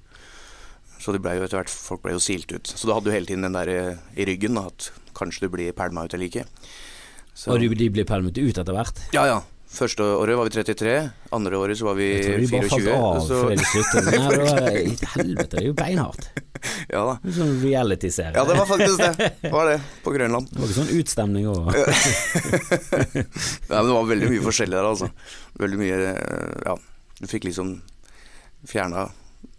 B: Så det ble jo etter hvert folk ble jo silt ut. Så da hadde du hele tiden den der eh, i ryggen da, at kanskje du blir pælma ut eller ikke. Så-
A: Og du, de ble pælmet ut etter hvert?
B: Ja, ja. Første året var vi 33, andre året så var vi
A: Jeg tror de bare
B: 24.
A: falt av
B: så-
A: før de sluttet. Nei, det var, helvete, det er jo beinhardt.
B: ja da.
A: Det er Sånn reality-serie.
B: Ja, det var faktisk det. Det var det, på Grønland.
A: Det var ikke sånn utstemning òg.
B: Ja, men det var veldig mye forskjellig der, altså. Veldig mye eh, Ja. Du fikk liksom fjerna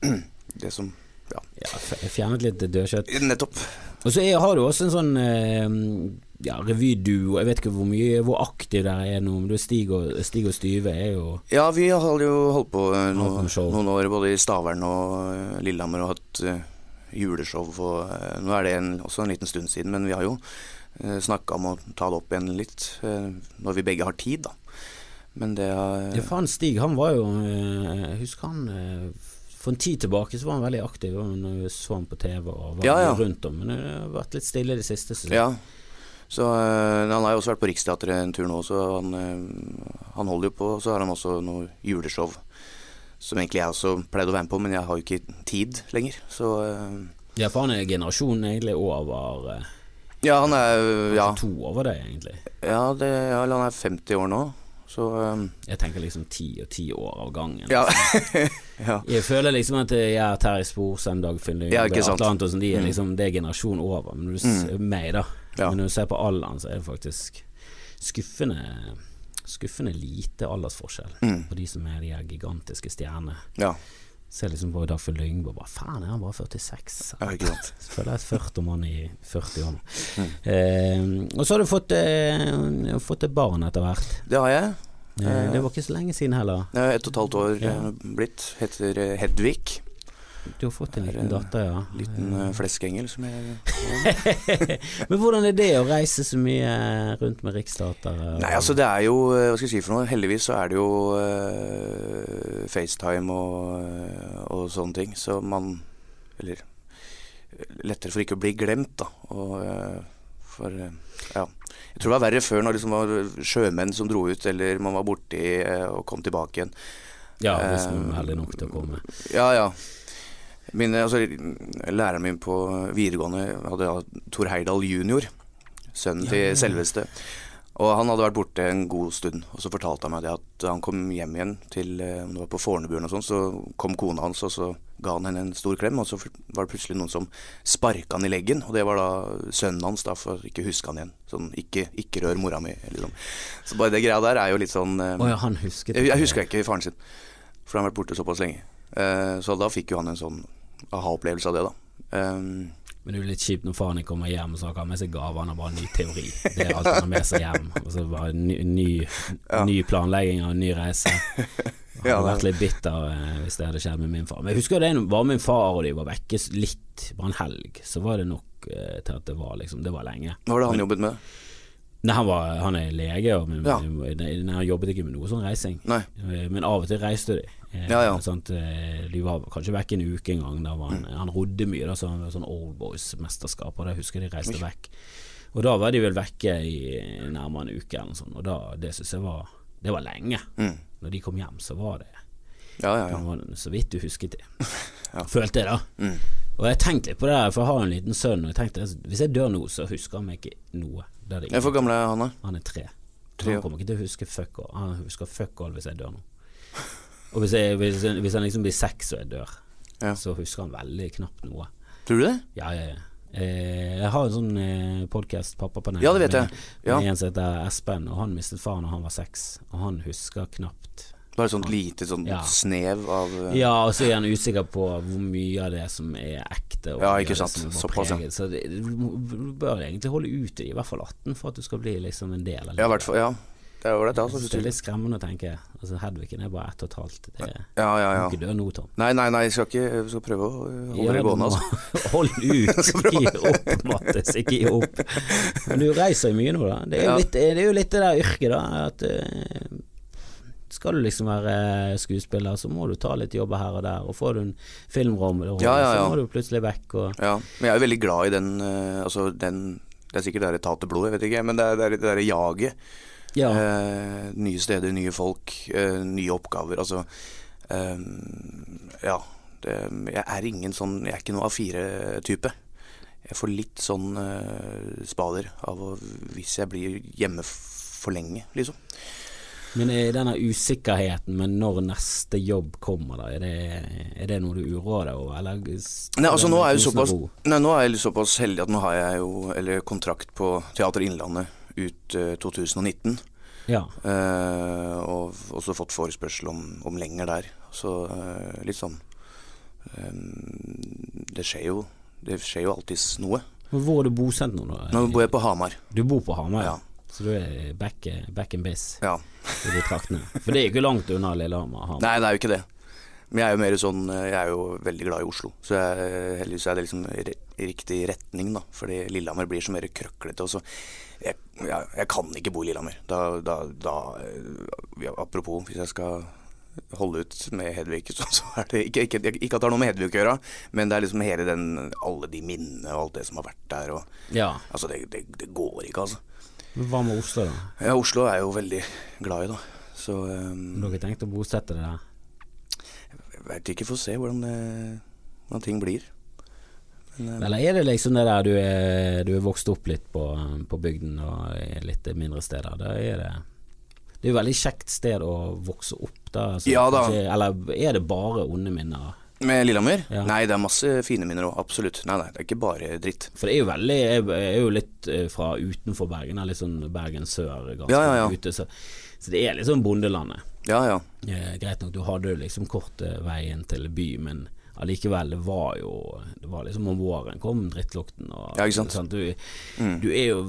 B: det som Ja,
A: Ja, f- jeg fjernet litt dødkjøtt.
B: nettopp.
A: Og så er- har du også en sånn eh, ja, revyduo. Jeg vet ikke hvor mye hvor aktiv dere er nå, men du er Stig og, Stig og Styve er jo
B: Ja, vi har jo holdt på eh,
A: Holdt på
B: noen,
A: med show.
B: noen år både i Stavern og eh, Lillehammer og hatt eh, juleshow og eh, Nå er det en, også en liten stund siden, men vi har jo uh, snakka om å ta det opp igjen litt eh, når vi begge har tid, da. Men det har
A: Ja, faen, Stig han var jo eh, Husker han eh, For en tid tilbake så var han veldig aktiv. og Når vi så han på TV og var
B: Ja, ja.
A: rundt om, men det har vært litt stille i det siste. synes jeg.
B: Ja. Så, øh, han har jo også vært på Riksteatret en tur nå, så han, øh, han holder jo på. Og så har han også noe juleshow som egentlig jeg også pleide å være med på, men jeg har jo ikke tid lenger. Så øh,
A: Ja, for han er generasjonen egentlig over eh,
B: Ja, han er øh, ja,
A: to over deg, egentlig.
B: ja, det, ja, eller han er 50 år nå, så øh,
A: Jeg tenker liksom ti og ti år av gangen.
B: Ja. ja.
A: Jeg føler liksom at eh, jeg er Terje Sporsem, Dagfinn Lyngve,
B: Ja, ikke sant.
A: Atle Antonsen, de er
B: Mm.
A: liksom det er generasjon over. Men du ser meg, da.
B: Ja.
A: Men når du ser på alderen, så er det faktisk skuffende Skuffende lite aldersforskjell
B: Mm.
A: på de som er de her gigantiske stjernene.
B: ja.
A: Ser liksom på Dagfinn Lyngve og bare faen, er han altså. bare 46?
B: Ja, ikke sant.
A: Så føler jeg et 40 mann i 40 år.
B: Mm.
A: Eh, og så har du fått, eh, fått et barn etter hvert.
B: Det har jeg.
A: Eh, det var ikke så lenge siden heller.
B: Jeg er ett og et halvt år
A: Ja.
B: øh, blitt. Heter øh, Hedvig.
A: Du har fått en
B: Det er
A: liten
B: en
A: datter, ja.
B: Liten øh, fleskengel som jeg
A: Men hvordan er det å reise så mye eh, rundt med riksstater?
B: Nei, altså det er jo eh, Hva skal jeg si for noe? Heldigvis så er det jo eh, FaceTime og, eh, og sånne ting. Så man Eller lettere for ikke å bli glemt, da. Og, eh, for eh, Ja. Jeg tror det var verre før, når det liksom var sjømenn som dro ut, eller man var borti eh, og kom tilbake igjen.
A: Ja, hvis man
B: eh,
A: er heldig nok til å komme.
B: Ja, ja. Min, altså, læreren min på videregående hadde ja, Tor Heyerdahl jr., sønnen til selveste. Og han hadde vært borte en god stund, og så fortalte han meg det at han kom hjem igjen til eh, om det var på Fornebu eller noe sånt, så kom kona hans, og så ga han henne en stor klem, og så fort- var det plutselig noen som sparka han i leggen, og det var da sønnen hans, da, for ikke å huske han igjen. Sånn ikke, ikke rør mora mi, liksom. Så bare det greia der er jo litt sånn eh,
A: Å ja, han husket
B: jeg, jeg
A: det.
B: husker ikke faren sin, for han har vært borte såpass lenge. Eh, så da fikk jo han en sånn aha-opplevelse av det, da. Ehm,
A: Men det er jo litt kjipt når faren din kommer hjem og så har han med seg gaver, han har bare en ny teori. Det er alt han har med seg hjem. Og så bare en ny, ny, ny planlegging av en ny reise. Jeg
B: Ja,
A: hadde
B: det-
A: vært litt bitter eh, hvis det hadde skjedd med min far. Men jeg husker det var min far og de var vekke litt, bare en helg. Så var det nok eh, til at det var liksom, det var lenge.
B: hva var det han jobbet med?
A: Nei, han, var, han er lege, og, men,
B: Ja.
A: nei, han jobbet ikke med noe sånn reising.
B: Nei.
A: Eh, Men av og til reiste de. Eh,
B: Ja, ja.
A: Sant? Eh, De var kanskje vekk en uke en gang. Da var han, han rodde mye, da, så han var sånn oldboys-mesterskap, og da husker jeg de reiste vekk. Og da var de vel vekke i nærmere en uke, eller noe sånt, og da, det syns jeg var Det var lenge.
B: Mm.
A: Når de kom hjem, så var det
B: Ja, ja, ja.
A: det var Så vidt du husket det.
B: Ja.
A: Følte jeg, da.
B: Mm.
A: Og jeg tenkte litt på det, her, for jeg har en liten sønn, og jeg tenkte hvis jeg dør nå, så husker han meg ikke noe. Det er det
B: Jeg er for gamle han er.
A: han er tre.
B: Tre, ja.
A: han kommer ikke til å huske fuck all. Han husker fuck all hvis jeg dør nå. Og hvis, jeg, hvis, hvis han liksom blir seks og jeg dør,
B: Ja.
A: så husker han veldig knapt noe.
B: Tror du det?
A: Ja, ja, ja. Eh, jeg har en sånn eh, podkast, Pappapanel,
B: Ja, det vet jeg.
A: med,
B: Ja.
A: med en som heter Espen, og han mistet faren da han var seks, og han husker knapt
B: Bare sånt lite sånn
A: Ja.
B: snev av eh,
A: ja, og så er han usikker på hvor mye av det som er ekte. Og mye
B: Ja,
A: av
B: ikke
A: det
B: sant.
A: som var
B: Såpass, ja.
A: preget. Så det, du bør egentlig holde ut i, i hvert fall 18 for at du skal bli liksom en del av
B: Ja, i hvert fall. Ja. Det er ålreit, det.
A: Jeg
B: Altså.
A: synes det er litt skremmende å tenke. Altså, Hedvigen er bare ett og et halvt. Det er
B: Ja, ja,
A: ja.
B: ja.
A: ikke død nå, Tom.
B: Nei, nei, nei, jeg skal, ikke, jeg skal prøve å øh, holde det
A: du
B: gående.
A: må-
B: Altså.
A: Hold ut, ikke gi opp, Mattis. Ikke gi opp. Men du reiser jo mye nå, da. Det er jo
B: Ja.
A: litt det, er jo litt det der yrket, da. At, eh, skal du liksom være skuespiller, så må du ta litt jobber her og der. Og får du en filmrolle,
B: Ja, ja, ja.
A: så må du plutselig vekk. Og
B: Ja, men jeg er jo veldig glad i den, eh, altså den Det er sikkert det er et tatt blod, jeg vet ikke, men det er det, er, det derre jaget.
A: ja,
B: Eh, nye steder, nye folk, eh, nye oppgaver. Altså eh, Ja. Det, jeg er ingen sånn Jeg er ikke noe A4-type. Jeg får litt sånn eh, spader av å Hvis jeg blir hjemme f- for lenge, liksom.
A: Men eh, denne usikkerheten med når neste jobb kommer, da, er det, er det noe du uroer deg over? Eller
B: Nei, altså nå er jeg jo
A: Hvordan
B: såpass, nei, nå er jeg litt såpass heldig at nå har jeg jo eller, kontrakt på Teater Innlandet ut eh, 2019.
A: Ja.
B: Eh, og f- også fått forespørsel om, om lenger der. Så eh, litt sånn eh, Det skjer jo Det skjer jo alltids noe.
A: Men Hvor er du bosatt nå, da?
B: Nå bor jeg på Hamar.
A: Du bor på Hamar,
B: Ja.
A: så du er back, back in biz
B: Ja.
A: i de traktene. For det er jo ikke langt unna Lillehammer. Hamar.
B: Nei, det er jo ikke det. Men jeg er jo mer sånn eh, Jeg er jo veldig glad i Oslo. Så jeg, heldigvis er det liksom re- i riktig retning, da. Fordi Lillehammer blir så mer krøklete. Og så jeg, jeg, jeg kan ikke bo i Lillehammer. Da, da, da eh, ja, Apropos, hvis jeg skal holde ut med Hedvig, så, så er det ikke, ikke, ikke at det har noe med Hedvig å gjøre, men det er liksom hele den Alle de minnene og alt det som har vært der og
A: Ja.
B: Altså, det, det, det går ikke, altså.
A: Men hva med Oslo, da?
B: Ja, Oslo er jeg jo veldig glad i, da. Så eh,
A: Om dere tenkte å bosette dere der?
B: Jeg veit ikke, får se hvordan, eh, hvordan ting blir. Men, eh,
A: Eller er det liksom det der du er, du er vokst opp litt på, på bygden og i litt mindre steder? Da er det Det er jo et veldig kjekt sted å vokse opp, da. så
B: Ja da.
A: kanskje- eller er det bare onde minner?
B: med Lillehammer?
A: Ja.
B: Nei, det er masse fine minner òg, absolutt. Nei, nei, det er ikke bare dritt.
A: For det er jo veldig Jeg er jo litt eh, fra utenfor Bergen, eller litt sånn Bergen sør, ganske
B: Ja, ja, ja.
A: ute, så, så det er litt sånn bondelandet.
B: Ja, ja.
A: Eh, greit nok, du hadde jo liksom kort eh, vei inn til by, men allikevel, det var jo Det var liksom om våren kom drittlukten og
B: Ja, ikke sant? Mm.
A: Du, du er jo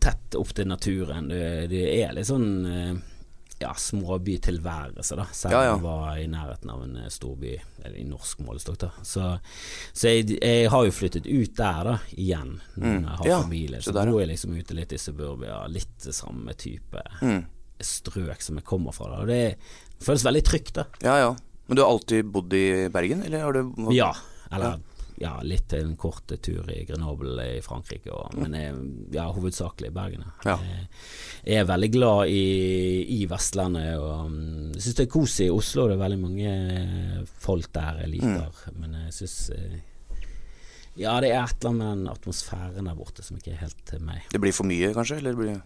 A: tett opp til naturen. Du, det er litt sånn eh, ja, småbytilværelse, da. Selv om
B: Ja, ja.
A: jeg var i nærheten av en eh, storby eller i norsk målestokk, da. Så, så jeg, jeg har jo flyttet ut der, da, igjen. Når jeg har
B: Mm. Ja,
A: familie.
B: se
A: Så
B: der, ja.
A: bor jeg liksom ute litt i suburbia, litt samme type
B: Mm.
A: strøk som jeg kommer fra. Da. Og det føles veldig trygt, da.
B: ja, ja. Men du har alltid bodd i Bergen, eller har du
A: Ja. Eller ja, litt til en kort tur i Grenoble i Frankrike, og, men jeg, ja, hovedsakelig i Bergen.
B: Ja.
A: Jeg er veldig glad i, i Vestlandet, og mm, jeg syns det er koselig i Oslo. Det er veldig mange eh, folk der jeg liker, men jeg syns ja, det er et eller annet med den atmosfæren der borte som ikke er helt til meg.
B: Det blir for mye, kanskje? Eller det blir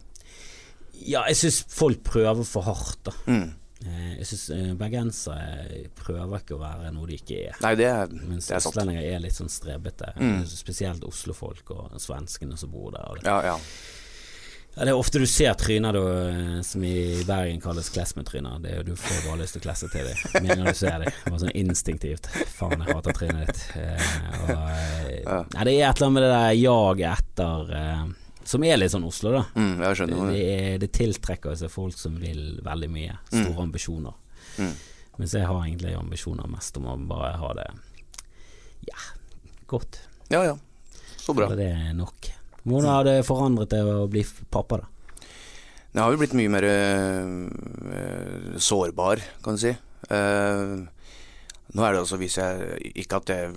A: Ja, jeg syns folk prøver for hardt, da.
B: mm.
A: Eh, Jeg syns bergensere prøver ikke å være noe de ikke er.
B: Nei, det er, det
A: Mens
B: er sant. Mm.
A: østlendinger er litt sånn strebete. Spesielt oslofolk og svenskene som bor der. Og det.
B: Ja, ja.
A: Ja, det er ofte du ser tryner du, eh, som i Bergen kalles klesmetryner. Det er jo du får bare lyst til å klesse til dem med en gang du ser dem. Bare sånn instinktivt. Faen, jeg hater trynet ditt. Eh, og, eh,
B: Ja.
A: Nei, det er et eller annet med det der jaget etter eh, Som er litt sånn Oslo, da.
B: Mm, jeg skjønner hva
A: Det,
B: du
A: er- det tiltrekker seg folk som vil veldig mye. Store ambisjoner.
B: Mm.
A: Mens jeg har egentlig ambisjoner mest om å bare ha det ja, godt.
B: Ja, ja. Så bra.
A: Eller det er nok. Hvordan har det forandret deg å bli f- pappa, da?
B: Jeg har jo blitt mye mer øh, sårbar, kan du si. Eh, nå er det altså hvis jeg Ikke at jeg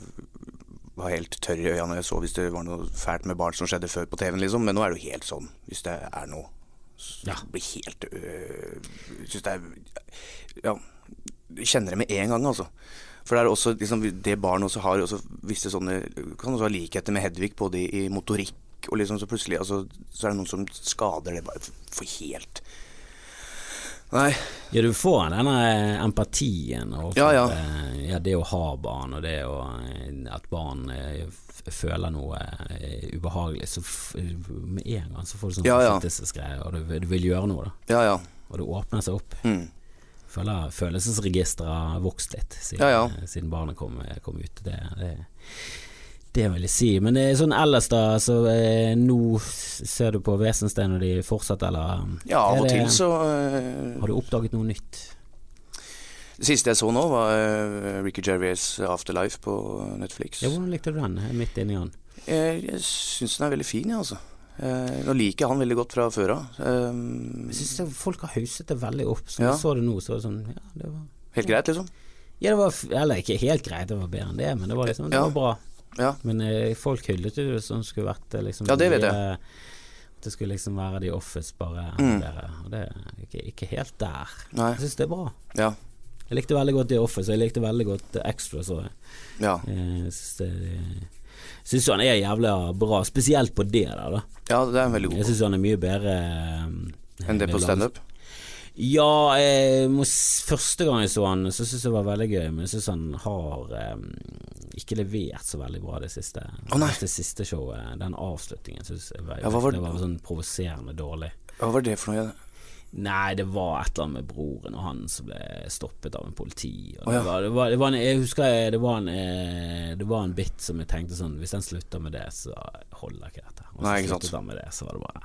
B: var helt tørr i øya når jeg så hvis det var noe fælt med barn som skjedde før på TV-en, liksom, men nå er det jo helt sånn hvis det er noe. s-
A: Ja.
B: Blir helt øh, Syns det er Ja. jeg Kjenner det med en gang, altså. For det er også liksom, Det barn også har også visse sånne Kan også ha likheter med Hedvig, både i motorikk og liksom så plutselig altså, Så er det noen som skader det bare for helt Nei.
A: Ja, du får denne eh, empatien og
B: Ja, ja.
A: eh, ja, det å ha barn, og det å eh, at barn eh, f- føler noe eh, ubehagelig, så f med en gang så får du sånn
B: Ja, ja.
A: beskyttelsesgreie, og du, du vil gjøre noe, da.
B: Ja ja.
A: Og det åpner seg opp.
B: Mm.
A: Føler følelsesregisteret har vokst litt siden, eh,
B: Ja, ja.
A: siden barnet kom, kom ut. Det, det, Det vil jeg si. Men eh, sånn ellers, da. Så eh, nå s- ser du på Wesenstein og de fortsatt, eller um,
B: Ja, av
A: er
B: og
A: det-
B: til så eh,
A: Har du oppdaget noe nytt?
B: Det siste jeg så nå, var eh, Ricky Gervais 'Afterlife' på Netflix.
A: Ja, hvordan likte du den? Jeg er Midt inni den.
B: Jeg, jeg syns den er veldig fin, jeg, altså. Eh, Nå liker jeg han veldig godt fra før av. Eh,
A: Jeg syns folk har hauset det veldig opp. Så
B: Ja.
A: jeg så det nå, så var det sånn Ja, det var
B: Helt greit, liksom.
A: Ja, det var f- Eller ikke helt greit, det var bedre enn det, men det var liksom Det
B: Ja.
A: var bra.
B: Ja.
A: Men eh, folk hyllet jo det som skulle vært eh, liksom
B: Ja, det vet jeg.
A: eh, At det skulle liksom være The Office, bare enda
B: Mm.
A: bedre. Og det er ikke, ikke helt der.
B: Nei.
A: Jeg syns det er bra.
B: Ja.
A: Jeg likte veldig godt The Office, og jeg likte veldig godt eh, Extra, så jeg.
B: Ja,
A: Eh, Jeg syns det- jeg syns jo han er jævla bra, spesielt på det der, da.
B: ja det er en veldig
A: Jeg
B: god.
A: syns han er mye bedre eh,
B: Enn det på
A: ved langs-
B: standup.
A: ja, jeg må, s- første gang jeg så han, så syntes jeg det var veldig gøy, men jeg syns han har eh, ikke levert så veldig bra det siste,
B: Å, nei.
A: det siste showet. Den avslutningen syns jeg var,
B: Ja, hva var
A: det
B: det-
A: var sånn provoserende dårlig.
B: Hva var det for noe?
A: Nei, det var et eller annet med broren og han som ble stoppet av en politi. Og
B: Å,
A: det,
B: ja.
A: var, det, var, det var en, jeg husker jeg, det var en eh, Det var en bit som jeg tenkte sånn Hvis den slutter med det, så holder ikke dette. Og så
B: Nei, ikke sant.
A: sluttet han med det, så var det bare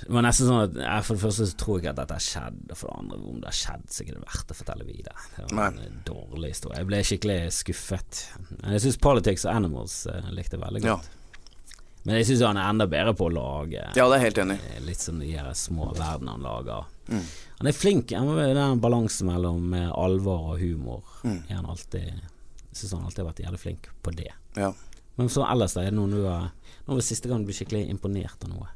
A: Det var nesten sånn at jeg, For det første så tror jeg ikke at dette har skjedd, og for det andre, om det har skjedd, så er ikke det verdt å fortelle videre. Det var en dårlig historie. Jeg ble skikkelig skuffet. Jeg syns Politics og Animals eh, likte jeg veldig
B: Ja.
A: godt. Men jeg syns han er enda bedre på å lage
B: ja, det er jeg helt enig. i.
A: Eh, Litt som de her små verdenene han lager.
B: Mm.
A: Han er flink. Han har den balansen mellom eh, alvor og humor.
B: Mm.
A: Er han alltid Jeg syns han alltid har vært jævlig flink på det.
B: Ja.
A: Men så ellers, da? Er det noe du har Nå var det siste gang du ble skikkelig imponert av noe?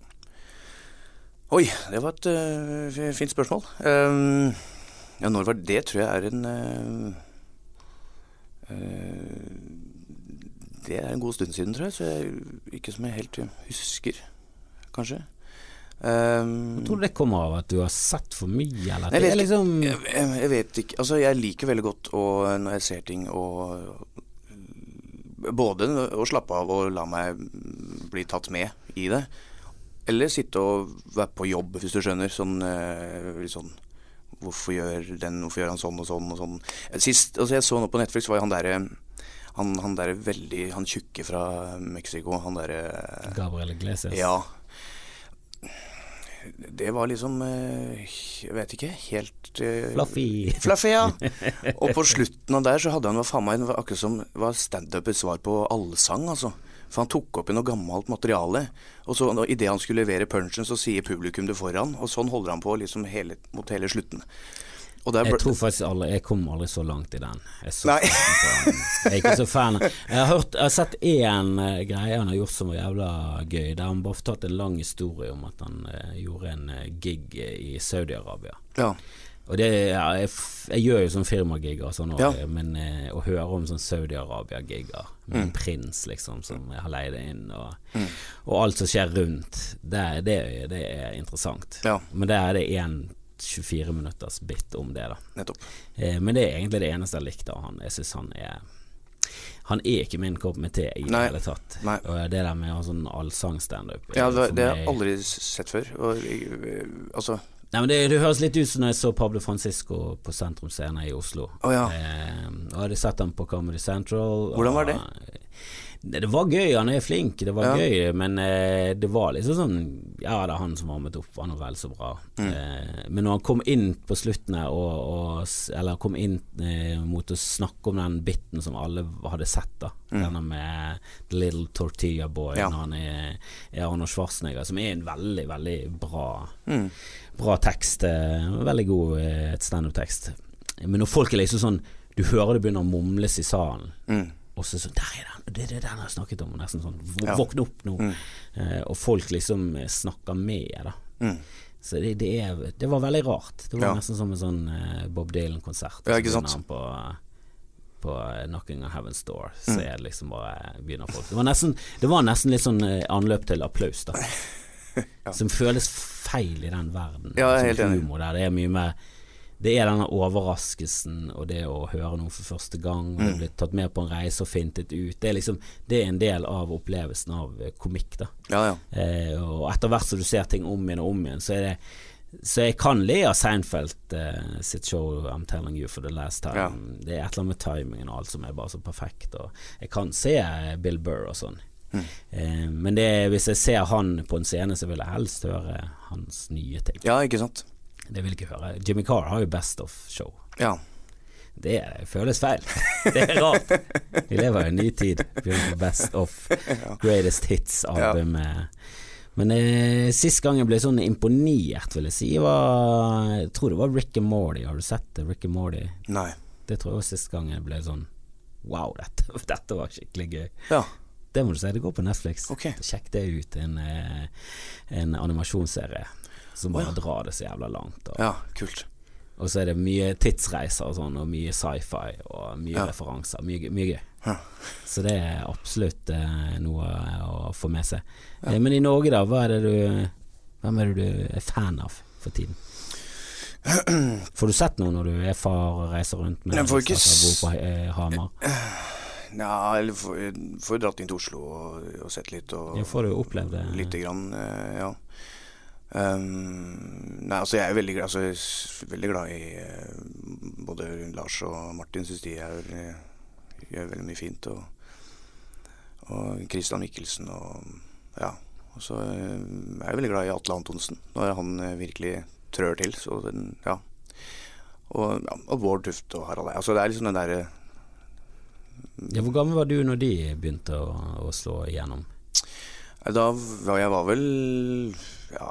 B: Oi, det var et øh, fi- fint spørsmål. Ehm, ja, når var det? Det tror jeg er en øh, øh, Det er en god stund siden, tror jeg. Så jeg, ikke som jeg helt husker, kanskje. Ehm,
A: Tror du det kommer av at du har sett for mye, eller at
B: Jeg
A: det er
B: vet
A: liksom
B: jeg, jeg, jeg vet ikke. Altså, jeg liker veldig godt å, når jeg ser ting og Både å slappe av og la meg bli tatt med i det. Eller sitte og være på jobb, hvis du skjønner. Sånn, eh, litt sånn Hvorfor gjør den Hvorfor gjør han sånn og sånn og sånn? Sist altså jeg så nå på Netflix, var jo han derre han, han derre veldig Han tjukke fra Mexico. Han derre
A: Gabriel Iglesias?
B: ja. Det var liksom eh, Jeg vet ikke helt eh,
A: Fluffy.
B: Fluffy, ja. Og på slutten av der så hadde han var faen meg det var akkurat som var standupets svar på allsang, altså. For han tok opp i noe gammelt materiale. Og så idet han skulle levere punchen, så sier publikum det foran. Og sånn holder han på liksom hele, mot hele slutten. Og der
A: Jeg
B: ble
A: tror faktisk aldri Jeg kom aldri så langt i den. Jeg, så
B: Nei.
A: fan. jeg er ikke så fan. Jeg har, hørt, jeg har sett én eh, greie han har gjort som var jævla gøy, der han bare fortalte en lang historie om at han eh, gjorde en eh, gig i Saudi-Arabia.
B: Ja.
A: Og det, ja, jeg, f- jeg gjør jo sånn firmagigger og sånn, og-
B: Ja.
A: men eh, å høre om sånn Saudi-Arabia-gigger med
B: Mm.
A: en prins liksom som jeg har leid inn, og, og alt som skjer rundt, det, er- det, er- det er interessant.
B: Ja.
A: Men der er det én 24 minutters bit om det, da.
B: Nettopp.
A: Eh, Men det er egentlig det eneste jeg likte av han. Jeg syns han er Han er ikke min kopp med te i det
B: Nei.
A: hele tatt.
B: Nei.
A: Og det der med å ha sånn allsangstandup
B: Ja, det,
A: for
B: det har
A: meg-
B: jeg aldri s- sett før. Og, jeg- altså
A: Nei, men det, det høres litt ut som når jeg så Pablo Francisco på Sentrum Scene i Oslo.
B: Å ja.
A: Eh, og hadde sett han på Comedy Central. og-
B: Hvordan var det?
A: Det, det var gøy, han er flink, det var
B: Ja.
A: gøy, men eh, det var liksom sånn Ja, det er han som varmet opp, han var vel så bra.
B: Mm.
A: Eh, men når han kom inn på slutten her, og, og s- Eller kom inn eh, mot å snakke om den biten som alle hadde sett, da. Denne med The Little Tortilla Boy,
B: Mm. Ja.
A: når han er, er Arnold Schwarzenegger, som er en veldig, veldig bra
B: mm.
A: Bra tekst. eh, Veldig god eh, standup-tekst. Men når folk er liksom sånn Du hører det begynner å mumles i salen,
B: Mm.
A: og så sånn Der er den! Det er det den jeg har snakket om! Nesten sånn vå-
B: Ja.
A: Våkne opp nå! Eh, og folk liksom eh, snakker med, da.
B: Mm.
A: Så det, det, er, det var veldig rart. Det var
B: Ja.
A: nesten som en sånn eh, Bob Dylan-konsert.
B: Ja,
A: Så
B: ikke
A: begynner
B: sant?
A: han På, på eh, 'Knocking on Heaven's Door'. Så
B: Mm.
A: er det liksom bare begynner folk Det var nesten, det var nesten litt sånn eh, anløp til applaus, da. Som føles feil i den verden.
B: Ja, jeg er
A: Sånn
B: helt enig.
A: humor der. Det er mye mer det er denne overraskelsen og det å høre noe for første gang,
B: Mm.
A: og det blir tatt med på en reise og fintet ut. Det er liksom Det er en del av opplevelsen av eh, komikk, da.
B: Ja, ja.
A: Eh, og etter hvert som du ser ting om igjen og om igjen, så er det Så jeg kan le av Seinfeld eh, sitt show 'I'm telling you for the last time'.
B: Ja.
A: Det er et eller annet med timingen og alt som er bare så perfekt. Og jeg kan se eh, Bill Burr og sånn.
B: Mm.
A: Eh, men det, hvis jeg ser han på en scene, så vil jeg helst høre hans nye ting.
B: Ja, ikke sant.
A: Det vil jeg ikke høre. Jimmy Carr har jo Best of-show.
B: Ja.
A: Det føles feil. Det er rart. Vi lever i en ny tid. Begynner på Best of Greatest Hits-albumet. Men eh, sist gang jeg ble sånn imponert, vil jeg si, var Jeg tror det var Rick and Morty. Har du sett det? Rick and Morty.
B: Nei.
A: Det tror jeg var sist gang jeg ble sånn Wow, dette, dette var skikkelig gøy.
B: Ja.
A: Det må du si. Det går på Netflix.
B: Ok.
A: Sjekk det ut. En, eh, en animasjonsserie som bare drar det så jævla langt. Og
B: Ja, kult.
A: og så er det mye tidsreiser og sånn, og mye sci-fi og mye
B: Ja.
A: referanser. Mye, gøy- mye gøy.
B: Ja.
A: Så det er absolutt eh, noe å få med seg. Eh, men i Norge, da, hva er det du Hvem er det du er fan av for tiden? Får du sett noe når du er far og reiser rundt med
B: Jeg får ikke
A: og bor på eh, Hamar?
B: Ja, eller får får jo dratt inn til Oslo og, og sett litt og
A: Ja, får du opplevd det?
B: Lite grann, eh, ja. Ehm, nei, altså jeg er jo veldig, glad- altså, jeg er s- veldig glad i eh, både Lars og Martin. Syns de er veldig, gjør veldig mye fint. Og, og Christian Mikkelsen og ja. Og så eh, er jeg veldig glad i Atle Antonsen når han eh, virkelig trør til. Så den, ja. Og, ja, og Bård Tufte og Harald Eia. Altså det er liksom den derre
A: Ja, hvor gammel var du når de begynte å, å slå igjennom?
B: Nei, Da var jeg var vel ja,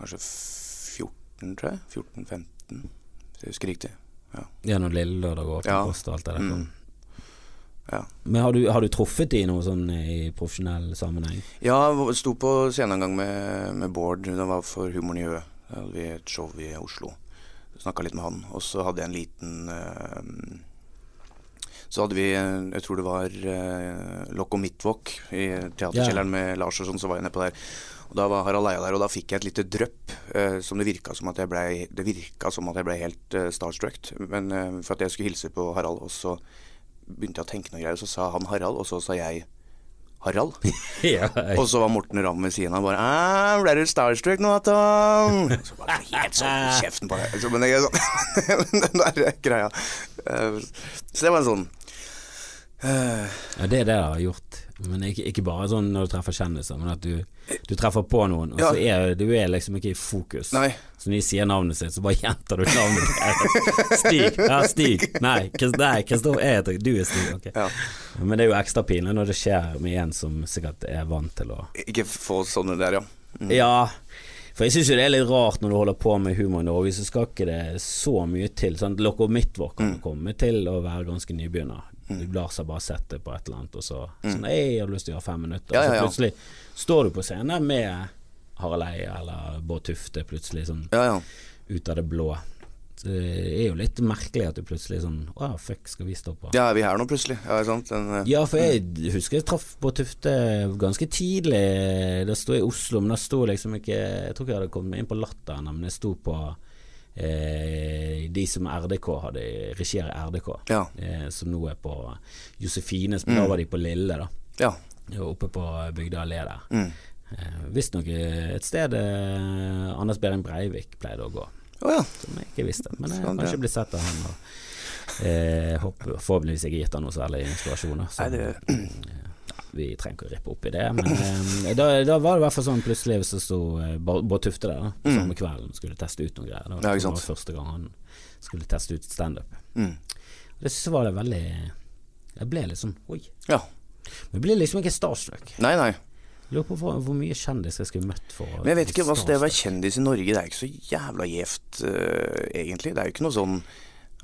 B: kanskje 14, tror jeg. 14-15, hvis jeg husker riktig.
A: Ja, når Lille Lørdag og Åpen
B: Ja.
A: post og alt det der kom.
B: Mm. Ja.
A: Men har du, har du truffet de i noe sånn i profesjonell sammenheng?
B: Jeg sto på scenen en gang med, med Bård. Det var for Humoren i Hø. Da hadde vi et show i Oslo. Snakka litt med han. Og så hadde jeg en liten eh, Så hadde vi, eh, jeg tror det var uh, Loco Midtwalk i teaterkjelleren med Lars og sånn, så var jeg nedpå der. Og da var Harald Eia der, og da fikk jeg et lite drypp eh, som det virka som at jeg ble, det virka som at jeg ble helt uh, starstruck. Men eh, for at jeg skulle hilse på Harald, og så begynte jeg å tenke noe greier, og så sa han Harald, og så sa jeg Harald.
A: ja,
B: Og så var Morten Ramm ved siden av bare «Æ, Ble du starstruck nå, Tom? Så bare helt sånn i kjeften på deg. Så, men jeg, sånn, den der greia. Eh, Så det var en sånn eh,
A: ja, det er det jeg har gjort. Men ikke, ikke bare sånn når du treffer kjendiser, men at du, du treffer på noen, og
B: Ja.
A: så er du er liksom ikke i fokus.
B: Nei.
A: Så når de sier navnet sitt, så bare gjentar du navnet. deres. Stig. Ja, Stig. Nei, Krist- nei, Kristoffer. Jeg heter Du er Stig. Ok.
B: Ja.
A: Men det er jo ekstra pinlig når det skjer med en som sikkert er vant til å
B: Ikke få sånne der, ja.
A: Ja, for jeg syns jo det er litt rart når du holder på med humor i Norge, så skal ikke det så mye til. Sant? Loco Midtwalk
B: Mm.
A: kan komme til å være ganske nybegynner. Du lar seg bare sette på et eller annet, og så sånn, «Ei, jeg har lyst til å gjøre fem minutter.
B: Mm. Ja,
A: Og
B: ja, ja.
A: Så plutselig står du på scenen med Harald Eia eller Bård Tufte, plutselig sånn
B: Ja, ja.
A: ut av det blå. Så det er jo litt merkelig at du plutselig sånn Å, fuck, skal vi stå på?
B: Ja, er vi her nå plutselig? Ja, ikke sant? Den, eh,
A: Ja, for jeg husker jeg traff på Tufte ganske tidlig. Da sto jeg i Oslo, men da sto liksom ikke Jeg tror ikke jeg hadde kommet meg inn på Latter ennå, men jeg sto på eh, de som RDK hadde regier i RDK,
B: Ja.
A: eh, som nå er på Josefines, men da var de på Lille, da.
B: ja.
A: Oppe på Bygdøy allé der.
B: Mm.
A: Eh, Visstnok et sted eh, Anders Behring Breivik pleide å gå
B: Å ja.
A: som jeg ikke visste. Men jeg
B: Sånn,
A: kanskje
B: ja.
A: blir sett av han. Og, eh, håper, forhåpentligvis ikke gitt han noe særlig inspirasjoner. Så,
B: Nei, det-
A: eh, ja, vi trenger ikke å rippe opp i det, men eh, da, da var det i hvert fall sånn plutselig så sto eh, Bå- Bård Tufte der da, samme kvelden og skulle teste ut noen greier. Det var,
B: Mm. Ja, ikke
A: det
B: sant.
A: var første gang han skulle teste ut standup.
B: Mm.
A: Og Det synes jeg var det veldig Jeg ble litt sånn oi.
B: ja.
A: Men jeg ble liksom ikke starstruck.
B: Nei, nei.
A: Lurer på hvor, hvor mye kjendiser jeg skulle møtt for å
B: Men jeg vet ikke,
A: bli
B: altså det å
A: starstruck.
B: være kjendis i Norge, det er ikke så jævla gjevt, eh, egentlig. Det er jo ikke noe sånn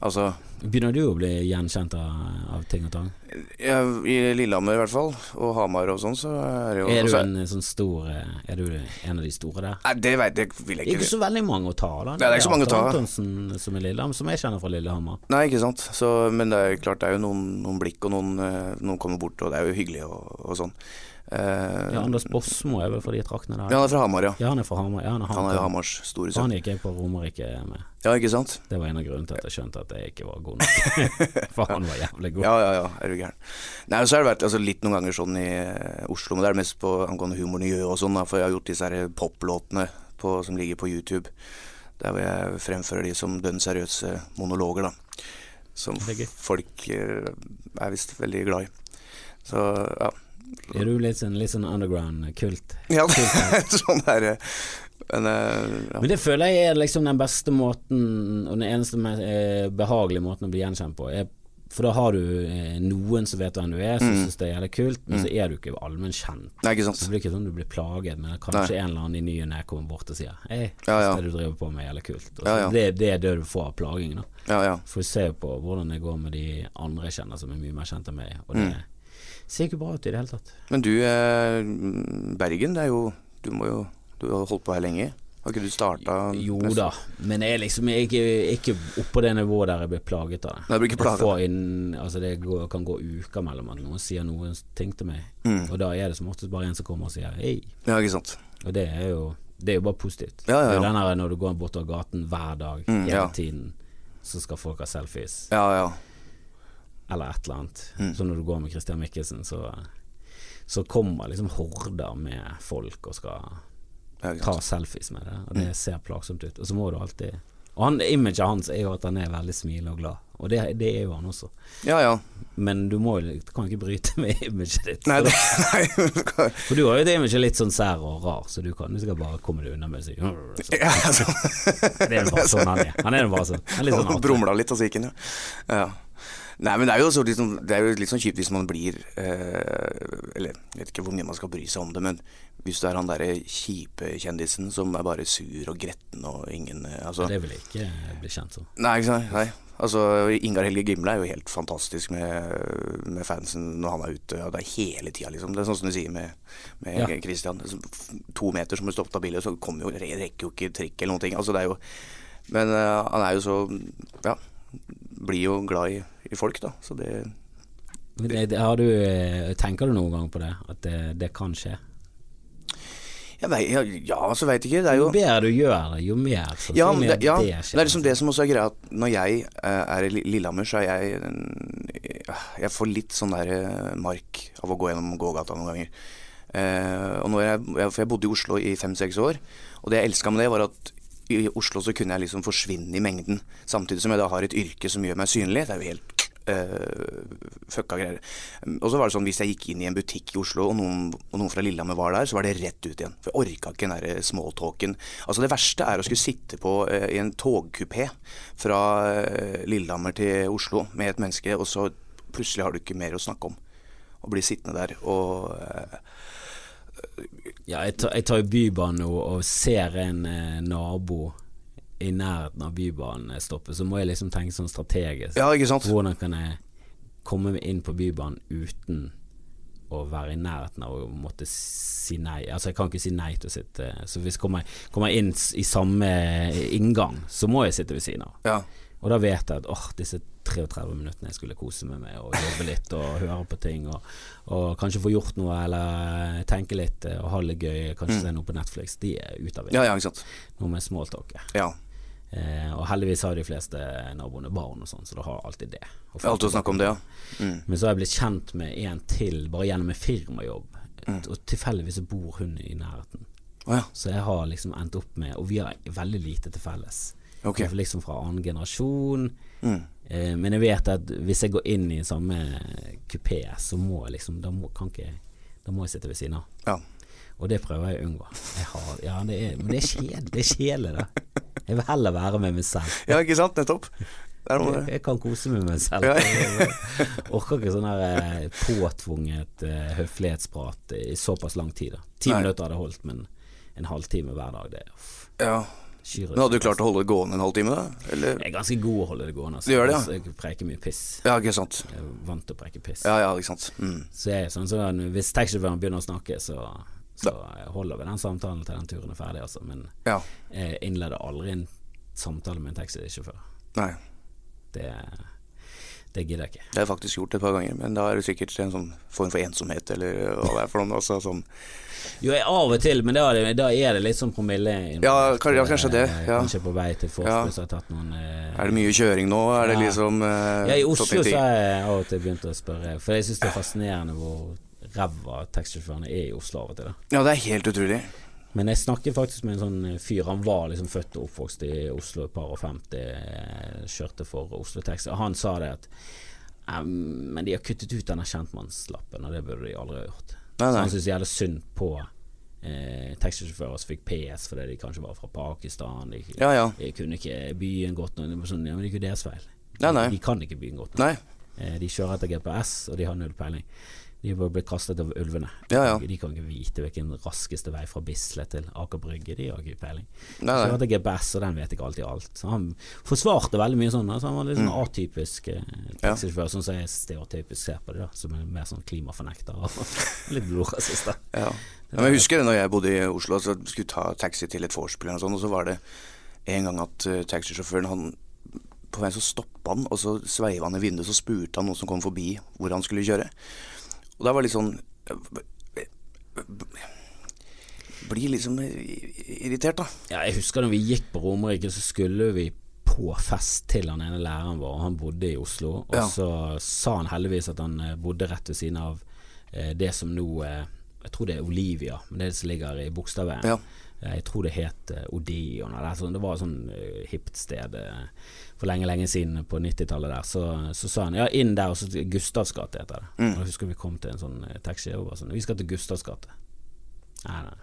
B: Altså
A: Begynner du å bli gjenkjent av, av ting og tang?
B: Ja, I Lillehammer i hvert fall, og Hamar og sånn, så er det jo
A: Er du
B: altså,
A: en eh, sånn stor eh, Er du en av de store der?
B: Nei, det, vet, det vil jeg
A: Ikke
B: ikke
A: så veldig mange å ta, da.
B: Nei, det er ikke så mange å ta.
A: Atle Antonsen som er Lillehammer, som jeg kjenner fra Lillehammer.
B: Nei, ikke sant. Så, men det er jo klart, det er jo noen, noen blikk, og noen, eh, noen kommer bort, og det er jo hyggelig og, og sånn. Eh,
A: Ja, Anders Båsmo er vel fra de traktene
B: ja,
A: der.
B: han er fra Hamar, ja.
A: Ja, han er fra Hamar. Ja, han er,
B: Han er jo
A: Hamar.
B: Hamars store
A: Han
B: sønn.
A: gikk jeg på Romerike med.
B: Ja, ikke sant.
A: Det var en av grunnene til at jeg skjønte at jeg ikke var god nok. For han var jævlig god.
B: Ja, ja, ja, er du gæren. Nei, så har det vært altså, litt noen ganger sånn i eh, Oslo, men det er mest på angående humoren i Gjø og sånn, da, for jeg har gjort disse her poplåtene på- som ligger på YouTube. Der hvor jeg fremfører de som dønn seriøse monologer, da. Som
A: Det er gøy.
B: folk eh, er visst veldig glad i. Så ja.
A: Er du litt sånn, litt sånn underground-kult?
B: ja sånn er det. Men eh, ja.
A: Men det føler jeg er liksom den beste måten, og den eneste me- eh, behagelige måten å bli gjenkjent på. Er, for da har du eh, noen som vet hvem du er,
B: Mm.
A: som syns det er jævlig kult, men så er du ikke allmenn kjent.
B: Nei, ikke sant.
A: Så det blir ikke sånn du blir plaget, men kanskje en eller annen i ny og ne kommer bort og sier Hei,
B: Ja, ja.
A: det du driver på med er jævlig kult. Og så
B: Ja, ja.
A: Det, det er det du får av plaging, da.
B: Ja, ja.
A: Får se på hvordan det går med de andre jeg kjenner som er mye mer kjent enn meg, og det
B: Mm.
A: ser ikke bra ut i det hele tatt.
B: Men du, eh, Bergen, det er jo Du må jo Du har holdt på her lenge. Har ikke du starta
A: Jo da, men jeg er liksom ikke, ikke oppå det nivået der jeg blir plaget av det.
B: Nei, du blir ikke plaget.
A: Jeg får inn, altså det går, kan gå uker mellom at noen sier noen ting til meg,
B: Mm.
A: og da er det som oftest bare en som kommer og sier hei,
B: Ja, ikke sant.
A: og det er jo, det er jo bare positivt.
B: Ja, ja,
A: Det er jo
B: ja.
A: den her når du går bortover gaten hver dag,
B: Mm,
A: hele
B: ja.
A: tiden, så skal folk ha selfies,
B: Ja, ja.
A: eller et eller annet.
B: Mm.
A: Så når du går med Christian Mikkelsen, så, så kommer liksom horder med folk og skal
B: ja Mm. ikke sant.
A: ta selfies med det, og det ser plagsomt ut. Og så må du alltid Og han, imaget hans er jo at han er veldig smilende og glad, og det, det er jo han også.
B: Ja, ja.
A: Men du må jo du kan ikke bryte med imaget ditt.
B: Nei,
A: For
B: det,
A: da-
B: nei.
A: For du har jo et image litt sånn sær og rar, så du kan du skal bare komme deg unna med å si Det
B: Ja, altså,
A: er jo bare sånn han er. Han er jo bare sånn. Han er litt sånn artig.
B: Brumla litt, og så gikk den, ja. ja. Nei, men det er jo, også litt, sånn- det er jo litt sånn kjipt hvis man blir eh, Eller jeg vet ikke hvor mye man skal bry seg om det, men hvis du er han derre kjipe kjendisen som er bare sur og gretten og ingen eh, altså,
A: Det vil jeg ikke eh, bli kjent som.
B: Nei, ikke sant. Nei. Altså, Ingar Helge Gimle er jo helt fantastisk med, med fansen når han er ute. Og det er hele tida, liksom. Det er sånn som du sier med, med
A: Ja.
B: Christian. Liksom, To meter som er stoppet av bil, og så kommer jo, re- rekker jo ikke trikk eller noen ting. Altså, det er jo, men eh, han er jo så Ja. Blir jo glad i, i folk, da. Så det
A: Men det, det, har du, eh, tenker du noen gang på det? At det, det kan skje?
B: jeg vei, ja, ja, så veit ikke. Det er jo
A: Jo bedre du gjør det, jo mer sannsynlig
B: Ja, men det,
A: at
B: ja,
A: det
B: det
A: skjer. altså.
B: er liksom det som også er greia. At når jeg eh, er i Li- Lillehammer, så er jeg en- Jeg får litt sånn der eh, mark av å gå gjennom gågata noen ganger. Eh, og når jeg, jeg, for jeg bodde i Oslo i fem-seks år, og det jeg elska med det, var at i Oslo så kunne jeg liksom forsvinne i mengden. Samtidig som jeg da har et yrke som gjør meg synlig. Det er jo helt eh, fucka greier. Og så var det sånn hvis jeg gikk inn i en butikk i Oslo, og noen, og noen fra Lillehammer var der, så var det rett ut igjen. For jeg orka ikke den derre smalltalken. Altså det verste er å skulle sitte på eh, i en togkupé fra eh, Lillehammer til Oslo med et menneske, og så plutselig har du ikke mer å snakke om. Og bli sittende der og eh,
A: Ja, jeg tar, jeg tar jo Bybanen nå og ser en eh, nabo i nærheten av Bybanen stoppe, så må jeg liksom tenke sånn strategisk.
B: Ja, ikke sant?
A: Hvordan kan jeg komme meg inn på Bybanen uten å være i nærheten av å måtte si nei? Altså, jeg kan ikke si nei til å sitte Så hvis jeg kommer, kommer jeg inn s- i samme eh, inngang, så må jeg sitte ved siden av.
B: Ja.
A: Og da vet jeg at åh, disse 33 minuttene jeg skulle kose meg med og jobbe litt og høre på ting og, og kanskje få gjort noe eller tenke litt eh, og ha det litt gøy, kanskje se noe på Netflix, de er ute av det.
B: ja, Mm. ja, ikke sant.
A: Noe med smalltalket.
B: Ja.
A: Eh, og heldigvis har de fleste naboene barn og sånn, så da har jeg alltid det. Og
B: Jeg har alltid å snakke om det, ja. Mm.
A: men så har jeg blitt kjent med en til bare gjennom en firmajobb,
B: Mm.
A: og tilfeldigvis så bor hun i nærheten.
B: Å ja.
A: Så jeg har liksom endt opp med Og vi har veldig lite til felles.
B: Ok. Mm.
A: Vi er Liksom fra annen generasjon. Eh, men jeg vet at hvis jeg går inn i samme kupé, så må jeg liksom Da må, kan ikke, jeg- da må jeg sitte ved siden av.
B: ja.
A: Og det prøver jeg å unngå. Jeg har, ja, det er, men det er kjedelig, det er kjedelig, da. Jeg vil heller være med meg selv.
B: Ja, ikke sant? Nettopp. Der må
A: Jeg,
B: det.
A: jeg kan kose meg med meg selv.
B: Ja.
A: Jeg orker ikke sånn her eh, påtvunget eh, høflighetsprat i såpass lang tid. da Ti
B: Nei.
A: minutter hadde holdt, men en halvtime hver dag, det uff,
B: Ja.
A: skyr
B: Men hadde du klart å holde det gående en halvtime, da? Eller?
A: Jeg er ganske god å holde det gående. Altså.
B: Du gjør det, ja.
A: Altså, Jeg preker mye piss.
B: Ja, ikke sant.
A: Jeg er vant til å preke piss.
B: Ja, ja, ikke sant. Mm.
A: Så jeg er sånn, så hvis taxisjåføren begynner å snakke, så, så holder vi den samtalen til den turen er ferdig, altså. Men
B: Ja.
A: jeg innleder aldri en samtale med en taxisjåfør.
B: Nei.
A: Det, det gidder jeg ikke.
B: Det har jeg faktisk gjort et par ganger, men da er det sikkert en sånn form for ensomhet, eller hva det er for noe. Altså, sånn.
A: Jo, jeg av og til, men da er det, da er det litt sånn promille. involvert.
B: Ja, kan- ja, kanskje det,
A: Eh,
B: ja.
A: Kanskje på vei til Forfjord,
B: Ja.
A: så har jeg tatt noen eh,
B: Er det mye kjøring nå? Er det
A: Ja.
B: liksom eh,
A: Ja, I Oslo
B: sånne
A: så
B: ting?
A: har jeg av og til begynt å spørre, for jeg syns det er fascinerende hvor ræva taxisjåførene er i Oslo av og til. da
B: Ja, det er helt utrolig.
A: Men jeg snakket faktisk med en sånn fyr. Han var liksom født og oppvokst i Oslo, et par og 50, eh, kjørte for Oslo Taxi. Han sa det at «Em, Men de har kuttet ut denne kjentmannslappen, og det burde de aldri ha gjort.
B: Nei,
A: Så
B: nei.
A: han syntes jævlig synd på eh, taxisjåfører som fikk PS fordi de kanskje var fra Pakistan. De,
B: Ja, ja.
A: de kunne ikke byen godt nok. Det var Sånn, ja, men det er ikke deres feil.
B: Nei, nei.
A: De kan ikke byen godt nok.
B: Nei.
A: Eh, De kjører etter GPS, og de har null peiling. De har bare blitt kastet over ulvene.
B: Ja, ja.
A: De kan ikke vite hvilken raskeste vei fra Bisle til Aker Brygge. De har ikke peiling.
B: Nei, nei.
A: Kjører etter GPS, og den vet ikke alltid alt. Så han forsvarte veldig mye sånn. Altså han var litt
B: Mm.
A: sånn atypisk eh, taxisjåfør, sånn som jeg stereotypisk ser på det, da. Som en mer sånn klimafornekter og litt blodrasist. da.
B: Ja. Ja, men jeg husker det når jeg bodde i Oslo og skulle ta taxi til et vorspiel, eller noe sånt, og så var det en gang at eh, taxisjåføren han På veien så stoppa han, og så sveiva han i vinduet, så spurte han noen som kom forbi hvor han skulle kjøre. Og da var det litt sånn eh, Blir liksom irritert, da.
A: Ja, jeg husker når vi gikk på Romerike, så skulle vi på fest til han ene læreren vår, og han bodde i Oslo. Og
B: Ja.
A: så sa han heldigvis at han eh, bodde rett ved siden av eh, det som nå eh, Jeg tror det er Olivia, men det er det som ligger i Bogstadveien.
B: Ja.
A: Eh, Jeg tror det het eh, Odeon eller sånn. Det var et sånn eh, hipt sted eh, for lenge, lenge siden på 90-tallet der. Så, så sa han ja, inn der, og så til Gustavs gate heter det.
B: Mm.
A: Og jeg husker vi kom til en sånn eh, taxi og bare sånn Vi skal til Gustavs gate. Nei, nei.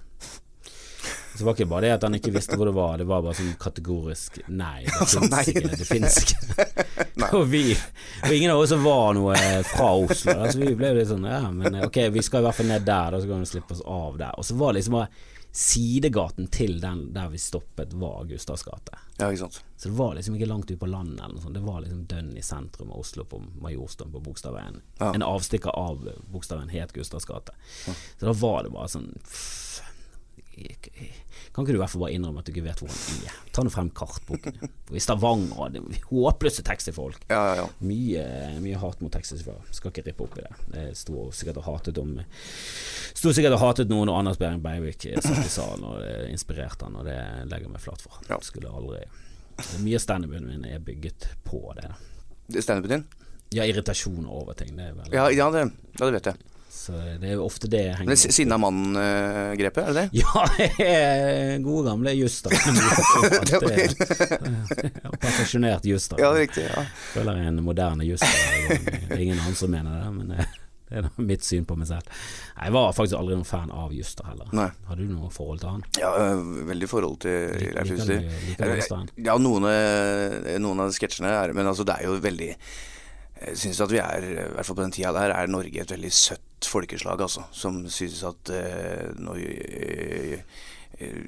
A: Så det var ikke bare det at han ikke visste hvor det var, det var bare sånn kategorisk nei. Det
B: Altså,
A: finnes
B: nei.
A: ikke. Det finnes ikke. og vi, og ingen av oss som var noe eh, fra Oslo, da, så vi ble litt sånn ja, men ok, vi skal i hvert fall ned der, da, så kan vi slippe oss av der. Og så var det liksom bare sidegaten til den der vi stoppet, var Gustavs gate.
B: Ja, ikke sant.
A: Så det var liksom ikke langt ut på landet eller noe sånt. Det var liksom dønn i sentrum av Oslo, på Majorstuen på Bogstadveien.
B: Ja.
A: En avstikker av Bogstadveien het Gustavs gate. Så da var det bare sånn pff, Kan ikke du i hvert fall bare innrømme at du ikke vet hvor han er? Ta nå frem kartboken. I Stavanger og det er håpløse taxifolk.
B: Ja, ja, ja.
A: Mye, mye hat mot taxisjåfører. Skal ikke rippe opp i det. Jeg sto sikkert og hatet om Sto sikkert og hatet noen, og Anders Behring Breivik satt i salen, og det inspirerte han, og det legger jeg meg flat for.
B: Ja.
A: Skulle aldri Mye av standupen min er bygget på det. da.
B: Det er Standupen din?
A: Ja, irritasjon over ting, det er vel
B: Ja, ja, det, ja, det vet jeg.
A: Så det er jo ofte det jeg
B: Men
A: henger
B: det er sinna mannen-grepet, eh, er det det?
A: Ja, gode gamle Juster.
B: Det var-
A: Perfeksjonert Juster.
B: Ja, det er riktig. Ja.
A: Føler jeg er en moderne juster. Det er ingen andre som mener det, men det, det er da mitt syn på meg selv. Nei, Jeg var faktisk aldri noen fan av juster heller.
B: Nei.
A: Har du noe forhold til han?
B: Ja, øh, veldig forhold til
A: Liker
B: Leif
A: du-
B: Juster.
A: liker du Jostein?
B: Ja, noen, øh, noen av sketsjene er Men altså, det er jo veldig Jeg syns at vi er, i hvert fall på den tida der, er Norge et veldig søtt folkeslag, altså. Som synes at øh, når øh, øh,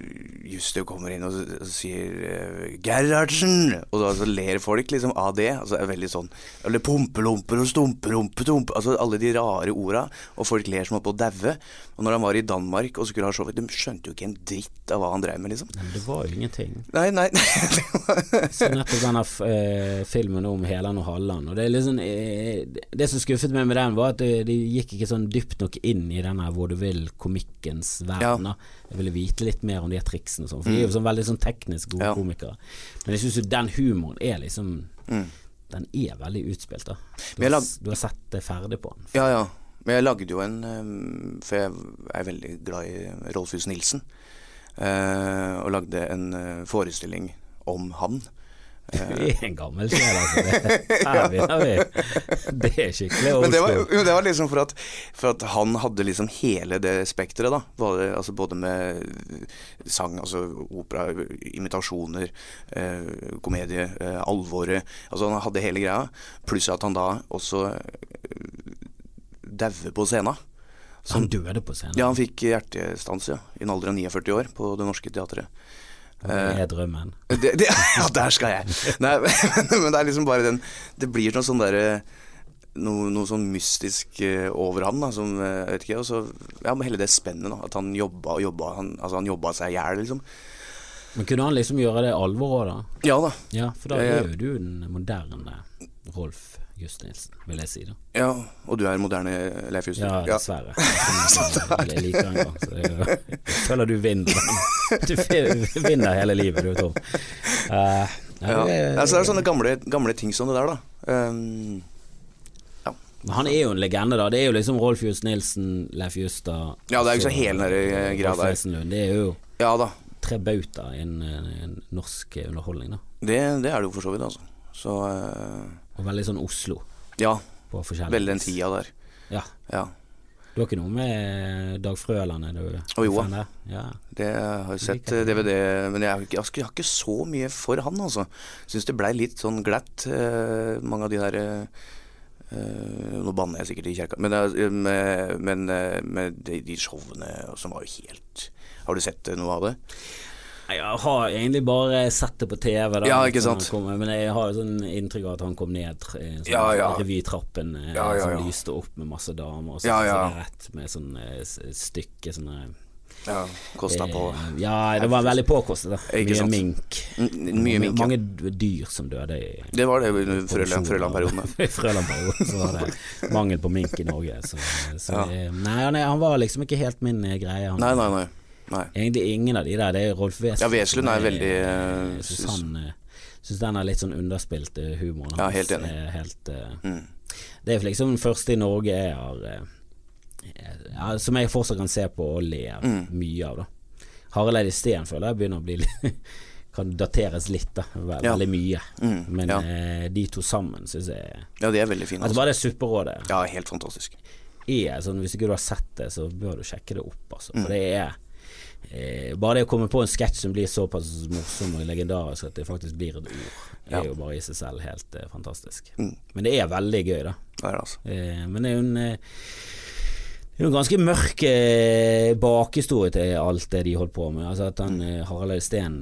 B: Juster kommer inn og, s- og sier øh, 'Gerhardsen', og da så ler folk liksom av det. Altså det er veldig sånn Eller 'pumpelomper' og 'stumperompe', tumpe Altså alle de rare orda, og folk ler som oppe og daue. Og når han var i Danmark og skulle ha showet, de skjønte jo ikke en dritt av hva han dreiv med, liksom.
A: Nei, men det var jo ingenting.
B: Nei, nei, det var-
A: Så nettopp denne f- eh, filmen om Heland og Halland. Og det, er litt sånn, eh, det som skuffet meg med den, var at det, det gikk ikke sånn dypt nok inn i denne vaudeville-komikkens
B: Ja. Mm.
A: verden. da. Jeg ville vite litt mer om de triksene og sånn, for de er jo sånn veldig sånn teknisk gode
B: Ja.
A: komikere. Men jeg syns jo den humoren er liksom Den er veldig utspilt, da. Du
B: Mm. Men jeg
A: har,
B: lag-
A: s- du har sett det ferdig på den.
B: Ja, ja. Men jeg lagde jo en øhm, For jeg er veldig glad i Rolf Hus Nilsen. eh, og lagde en øh, forestilling om han.
A: Du er en gammel sjel, altså. Det, her vinner vi. Det er skikkelig
B: Men
A: old
B: det var,
A: school.
B: jo, det var liksom for at, for at han hadde liksom hele det spekteret, da. Både, altså både med eh, sang, altså opera, imitasjoner, eh, komedie, eh, alvoret. Altså han hadde hele greia. Pluss at han da også eh, dauer på scenen.
A: Han Sånn døde på scenen.
B: Ja, han fikk hjertestans, ja. I en alder av 49 år på Det Norske Teatret.
A: Det er drømmen.
B: Det, det, ja, der skal jeg! Nei, men, men det er liksom bare den Det blir noe sånn derre noe, noe sånn mystisk eh, over han, da, som eh, jeg vet ikke, og så Ja, men hele det spennet, da. At han jobba og jobba. Han, altså, han jobba seg i hjel, liksom.
A: Men kunne han liksom gjøre det alvor òg, da?
B: Ja da.
A: Ja, for da
B: Jeg-
A: er jo du den moderne Rolf Just Nilsen, vil jeg si da.
B: Ja, og du er moderne Leif Juster.
A: Ja, dessverre. Jeg liker han jo, så det er jo- jeg føler du vinner. Du fi- vinner hele livet, du, Tom. Eh, nei,
B: Ja.
A: det-
B: Altså, det er sånne gamle, gamle ting som det der, da. Um,
A: Men han er jo en legende, da. Det er jo liksom Rolf Just Nilsen, Leif Juster
B: Ja, det er jo så hele den der eh, greia der.
A: Nilsen Lund, det er jo
B: Ja da,
A: Trebauta innen eh, en norsk eh, underholdning. da
B: det, det er det jo for så vidt, altså. Så eh,
A: Og veldig sånn Oslo
B: ja,
A: på forskjellig
B: veldig den tida der.
A: Ja.
B: Ja.
A: Du har ikke noe med Dag Frøland? Er du
B: Å, jo.
A: fan der? Ja.
B: Det jeg har jo sett
A: liker
B: eh, DVD, men jeg, har ikke- jeg har ikke- jeg har ikke så mye for han, altså. Syns det blei litt sånn glatt, eh, mange av de der eh, eh, Nå banner jeg sikkert i kjerka, men, det er- med, men eh, med de, de showene som var jo helt Har du sett eh, noe av det?
A: Nei, Jeg har egentlig bare sett det på TV, da,
B: Ja, ikke
A: sånn han
B: sant.
A: kommer, men jeg har jo sånn inntrykk av at han kom ned tr- i en sånn
B: Ja, ja.
A: revytrappen eh,
B: Ja, ja, ja.
A: som lyste opp med masse damer, og så,
B: Ja, ja.
A: så rett med sånn eh, s- stykke sånn eh,
B: Ja. Kosta på
A: Ja, det var veldig påkostet. da.
B: Ikke
A: Mye
B: sant.
A: mink.
B: Mm, Mye mink. ja.
A: Mange d- dyr som døde i
B: Det var det under Frøland- Frøland-perioden. ja.
A: I Frøland-perioden så var det mangel på mink i Norge. Så, så det, nei, han, er- han var liksom ikke helt min eh, greie. Han.
B: Nei, nei, nei. nei.
A: Egentlig ingen av de der. Det er Rolf Weslund.
B: Ja, Weslund er veldig, eh,
A: Jeg syns han eh, synes den er litt sånn underspilt, eh, humoren
B: Ja,
A: hans.
B: helt enig.
A: er helt, eh,
B: Mm.
A: Det er liksom den første i Norge jeg har eh, ja, Som jeg fortsatt kan se på og le
B: Mm.
A: mye av, da. Harald Eide Steen føler jeg begynner å bli litt Kan dateres litt, da. Ve-
B: Ja.
A: Veldig mye.
B: Mm,
A: Men
B: ja.
A: eh, de to sammen syns jeg
B: Ja, de er veldig fine.
A: Altså
B: Altså.
A: Bare det supperådet
B: Ja, helt fantastisk.
A: er sånn Hvis ikke du har sett det, så bør du sjekke det opp, altså. For det er eh, Bare det å komme på en sketsj som blir såpass morsom og legendarisk at det faktisk blir et ord,
B: Ja.
A: er jo bare i seg selv helt eh, fantastisk.
B: Mm.
A: Men det er veldig gøy, da.
B: Det er det, altså.
A: Eh, men det er jo en eh, det er jo en ganske mørk eh, bakhistorie til alt det de holdt på med. Altså at han eh, Harald Eide Steen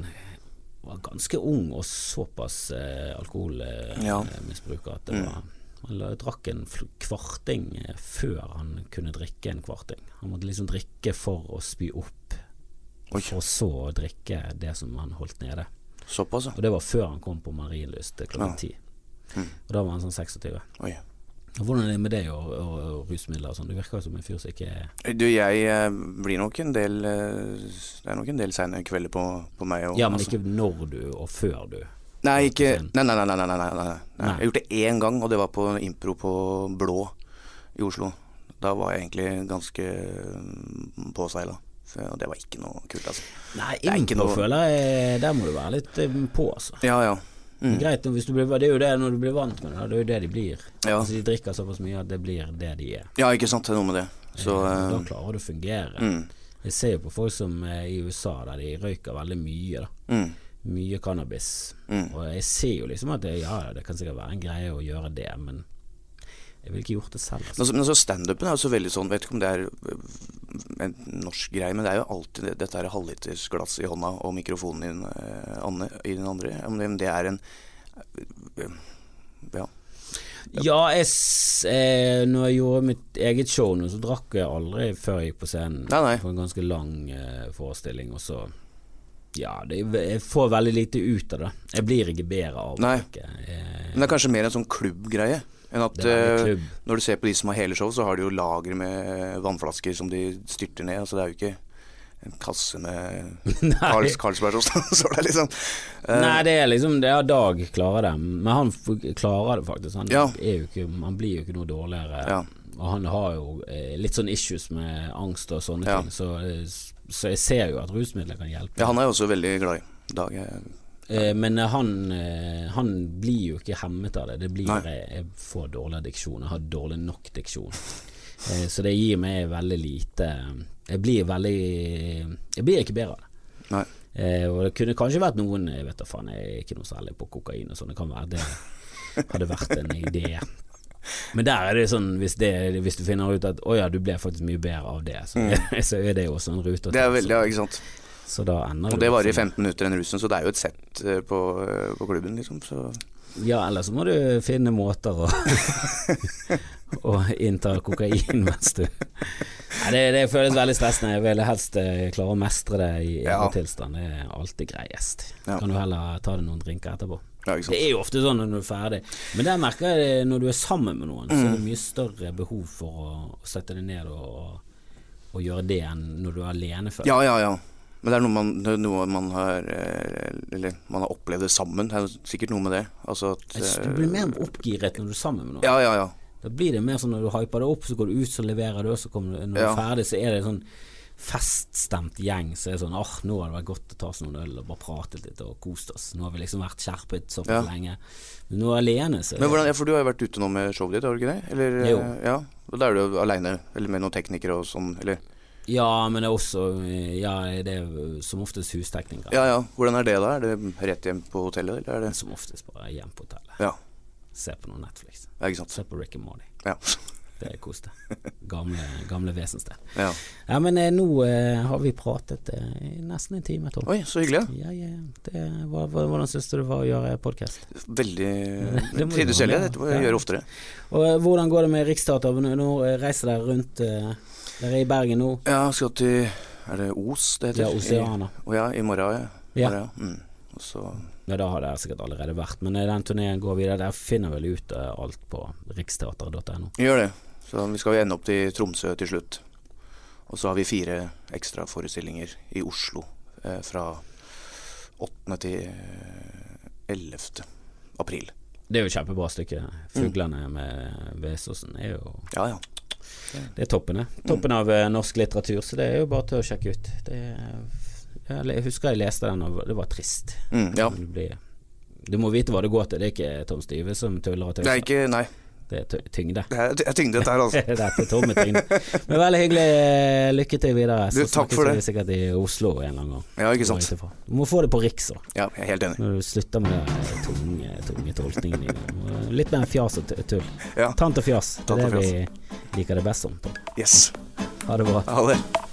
A: var ganske ung og såpass eh,
B: Ja.
A: alkoholmisbruker at det var Han la- drakk en fl- kvarting eh, før han kunne drikke en kvarting. Han måtte liksom drikke for å spy opp,
B: Oi.
A: for så å drikke det som han holdt nede.
B: Såpass, ja.
A: Og det var før han kom på Marienlyst eh, klokken ti. Og da var han sånn 26.
B: Oi.
A: Og Hvordan er det med deg og, og, og rusmidler og sånn? Du virker jo som en fyr som ikke
B: Du, jeg eh, blir nok en del eh, Det er nok en del seine kvelder på, på meg. Og,
A: Ja, men
B: altså.
A: ikke når du og før du.
B: Nei, ikke Nei, nei, nei. nei, nei, nei, nei. nei.
A: Nei.
B: Jeg har gjort det én gang, og det var på en impro på Blå i Oslo. Da var jeg egentlig ganske mm, påseila. Så, Og det var ikke noe kult, altså.
A: Nei,
B: er ikke
A: impro
B: noe-
A: føler jeg Der må du være litt eh, på, altså.
B: Ja, ja. Mm.
A: Greit, hvis du blir, Det er jo det når du blir vant med det, da. det er jo det de blir.
B: Ja.
A: Altså, de drikker såpass mye at det blir det de er.
B: ja, ikke sant. Det er noe med det. Så
A: Eh, da
B: eh,
A: klarer du å fungere.
B: mm,
A: Jeg ser jo på folk som eh, i USA, der de røyker veldig mye. da
B: mm,
A: Mye cannabis.
B: Mm.
A: Og jeg ser jo liksom at det, ja, ja, det kan sikkert være en greie å gjøre det, men jeg ville ikke gjort det selv. Altså.
B: Men så- Men så standupen er jo så veldig sånn, vet ikke om det er øh, en norsk greie, men det er jo alltid det- dette her halvlitersglasset i hånda og mikrofonen i den, eh, Anne, i den andre. Om det, om det er en øh, Ja.
A: Ja, jeg, s- eh, når jeg gjorde mitt eget show nå, så drakk jeg aldri før jeg gikk på scenen.
B: Nei, nei.
A: For en ganske lang eh, forestilling, og så Ja, det, jeg får veldig lite ut av det. Jeg blir ikke bedre av
B: Nei.
A: det. Eh,
B: Men det er kanskje mer en sånn klubbgreie. Enn at
A: Det er en
B: eh,
A: klubb.
B: når du ser på de som har hele show, så har de jo lagre med eh, vannflasker som de styrter ned. Så det er jo ikke en kasse med Karls, Karlsberg som står der, liksom. Eh,
A: Nei, det er liksom det er Dag klarer det, men han f klarer det faktisk. Han,
B: Ja.
A: er jo ikke, han blir jo ikke noe dårligere.
B: Ja.
A: Og han har jo eh, litt sånn issues med angst og sånne
B: Ja.
A: ting, så, eh, så jeg ser jo at rusmidler kan hjelpe.
B: ja, han er jeg også veldig glad i. Dag er
A: Eh, Men eh, han, eh, han blir jo ikke hemmet av det. Det blir
B: Nei.
A: jeg, jeg får dårlig diksjon. Jeg har dårlig nok diksjon. Eh, Så det gir meg veldig lite eh, Jeg blir veldig Jeg blir ikke bedre av det.
B: Nei.
A: Eh, Og det kunne kanskje vært noen Jeg vet da faen, jeg er ikke noe særlig på kokain og sånn. Det kan være det hadde vært en idé. Men der er det sånn, hvis, det, hvis du finner ut at å ja, du ble faktisk mye bedre av det, så, så er det jo også en rute. å
B: Mm. Det er
A: ta,
B: veldig, ja, ikke sant.
A: så, så da ender
B: Og
A: du
B: det varer
A: liksom-
B: i 15 minutter, den rusen, så det er jo et sett eh, på, eh, på klubben, liksom. Så
A: Ja, eller så må du finne måter å Å innta kokain mens du Nei, det, det føles veldig stressende. Jeg vil helst eh, klare å mestre det i egen
B: Ja.
A: tilstand. Det er alltid greiest.
B: Ja.
A: Kan du heller ta deg noen drinker etterpå.
B: ja, ikke
A: Det
B: sant.
A: er jo ofte sånn når du er ferdig, men der merker jeg det når du er sammen med noen, så
B: Mm.
A: er det mye større behov for å, å sette deg ned og, og gjøre det enn når du er alene. Føler.
B: Ja, ja, ja. Men det er noe man, det er noe man har eh, Eller man har opplevd det sammen. Det er jo sikkert noe med det. Altså at
A: Jeg synes
B: eh,
A: Du blir mer oppgiret når du er sammen med noen.
B: Ja, ja, ja.
A: Da blir det mer sånn når du hyper det opp, så går du ut, så leverer du, og så kommer du Når du
B: Ja.
A: er ferdig, så er det sånn feststemt gjeng som er sånn åh, nå hadde det vært godt å ta oss noen øl og bare prate litt og kost oss. Nå har vi liksom vært skjerpet såpass
B: Ja.
A: lenge. Men nå alene, så
B: Men hvordan, ja, For du har jo vært ute nå med showet ditt, har du ikke det? Eller,
A: Eh. Jo.
B: eh, Ja, og Da er du jo aleine, eller med noen teknikere og sånn, eller
A: Ja, men det er også Ja, det er som oftest husteknikere.
B: Ja ja, hvordan er det da? Er det rett hjem på hotellet, eller er det
A: Som oftest bare hjem på hotellet.
B: Ja,
A: Se på noe Netflix.
B: ja ikke sant.
A: Se på Rick and Morty.
B: Ja.
A: Det er kos deg. Gamle, gamle vesensted.
B: ja.
A: Ja, men eh, nå eh, har vi pratet eh, i nesten en time, Tom.
B: Oi, så hyggelig.
A: Ja, ja, ja. det, hva, hva, hvordan syns du det var eh, å gjøre podkast?
B: Veldig
A: Det må du
B: Trivdes
A: ha
B: veldig.
A: med,
B: Dette må
A: ja.
B: jeg gjøre oftere.
A: Og eh, hvordan går det med Riksteater? Nå, nå eh, reiser dere rundt eh, Dere er i Bergen nå.
B: Ja, skal til Er det Os det heter?
A: Ja, Oceana.
B: I, å ja, i morgen. Ja.
A: Ja.
B: Morgen, ja. Mm. Og så
A: Ja, da har dere sikkert allerede vært, men eh, den turneen går videre. Dere finner vel ut eh, alt på riksteater.no.
B: gjør det. Så vi skal jo ende opp til Tromsø til slutt. Og så har vi fire ekstra forestillinger i Oslo eh, fra 8. til eh, 11. april.
A: Det er jo et kjempebra stykke. 'Fuglene' med Vesaas er jo
B: Ja, ja.
A: Det er toppen, det. Toppen av eh, norsk litteratur, så det er jo bare til å sjekke ut. Det er, jeg le- husker jeg leste den, og det var trist.
B: Mm, ja.
A: Du, blir, du må vite hva det går til. Det er ikke Tom Styve som tuller og
B: Det er
A: tøyser.
B: ikke Nei.
A: Det er tø- tyngde.
B: Det er, det er tyngde, dette her, altså.
A: Dette er tomme tyngde. Men veldig hyggelig. eh, Lykke til videre.
B: Du,
A: Så
B: takk
A: snakkes
B: for det.
A: vi sikkert i Oslo en eller annen gang.
B: Ja, ikke sant.
A: Etterpå. Du må få det på Riks òg,
B: Ja, jeg er helt enig.
A: når du slutter med den eh, tunge, tunge tolkningen din. Og Litt mer fjas og t- tull.
B: Ja.
A: Tant og fjas. Det
B: Tant
A: er
B: og
A: det vi liker det best om. Tom.
B: Yes.
A: Ha det bra.
B: Ha det.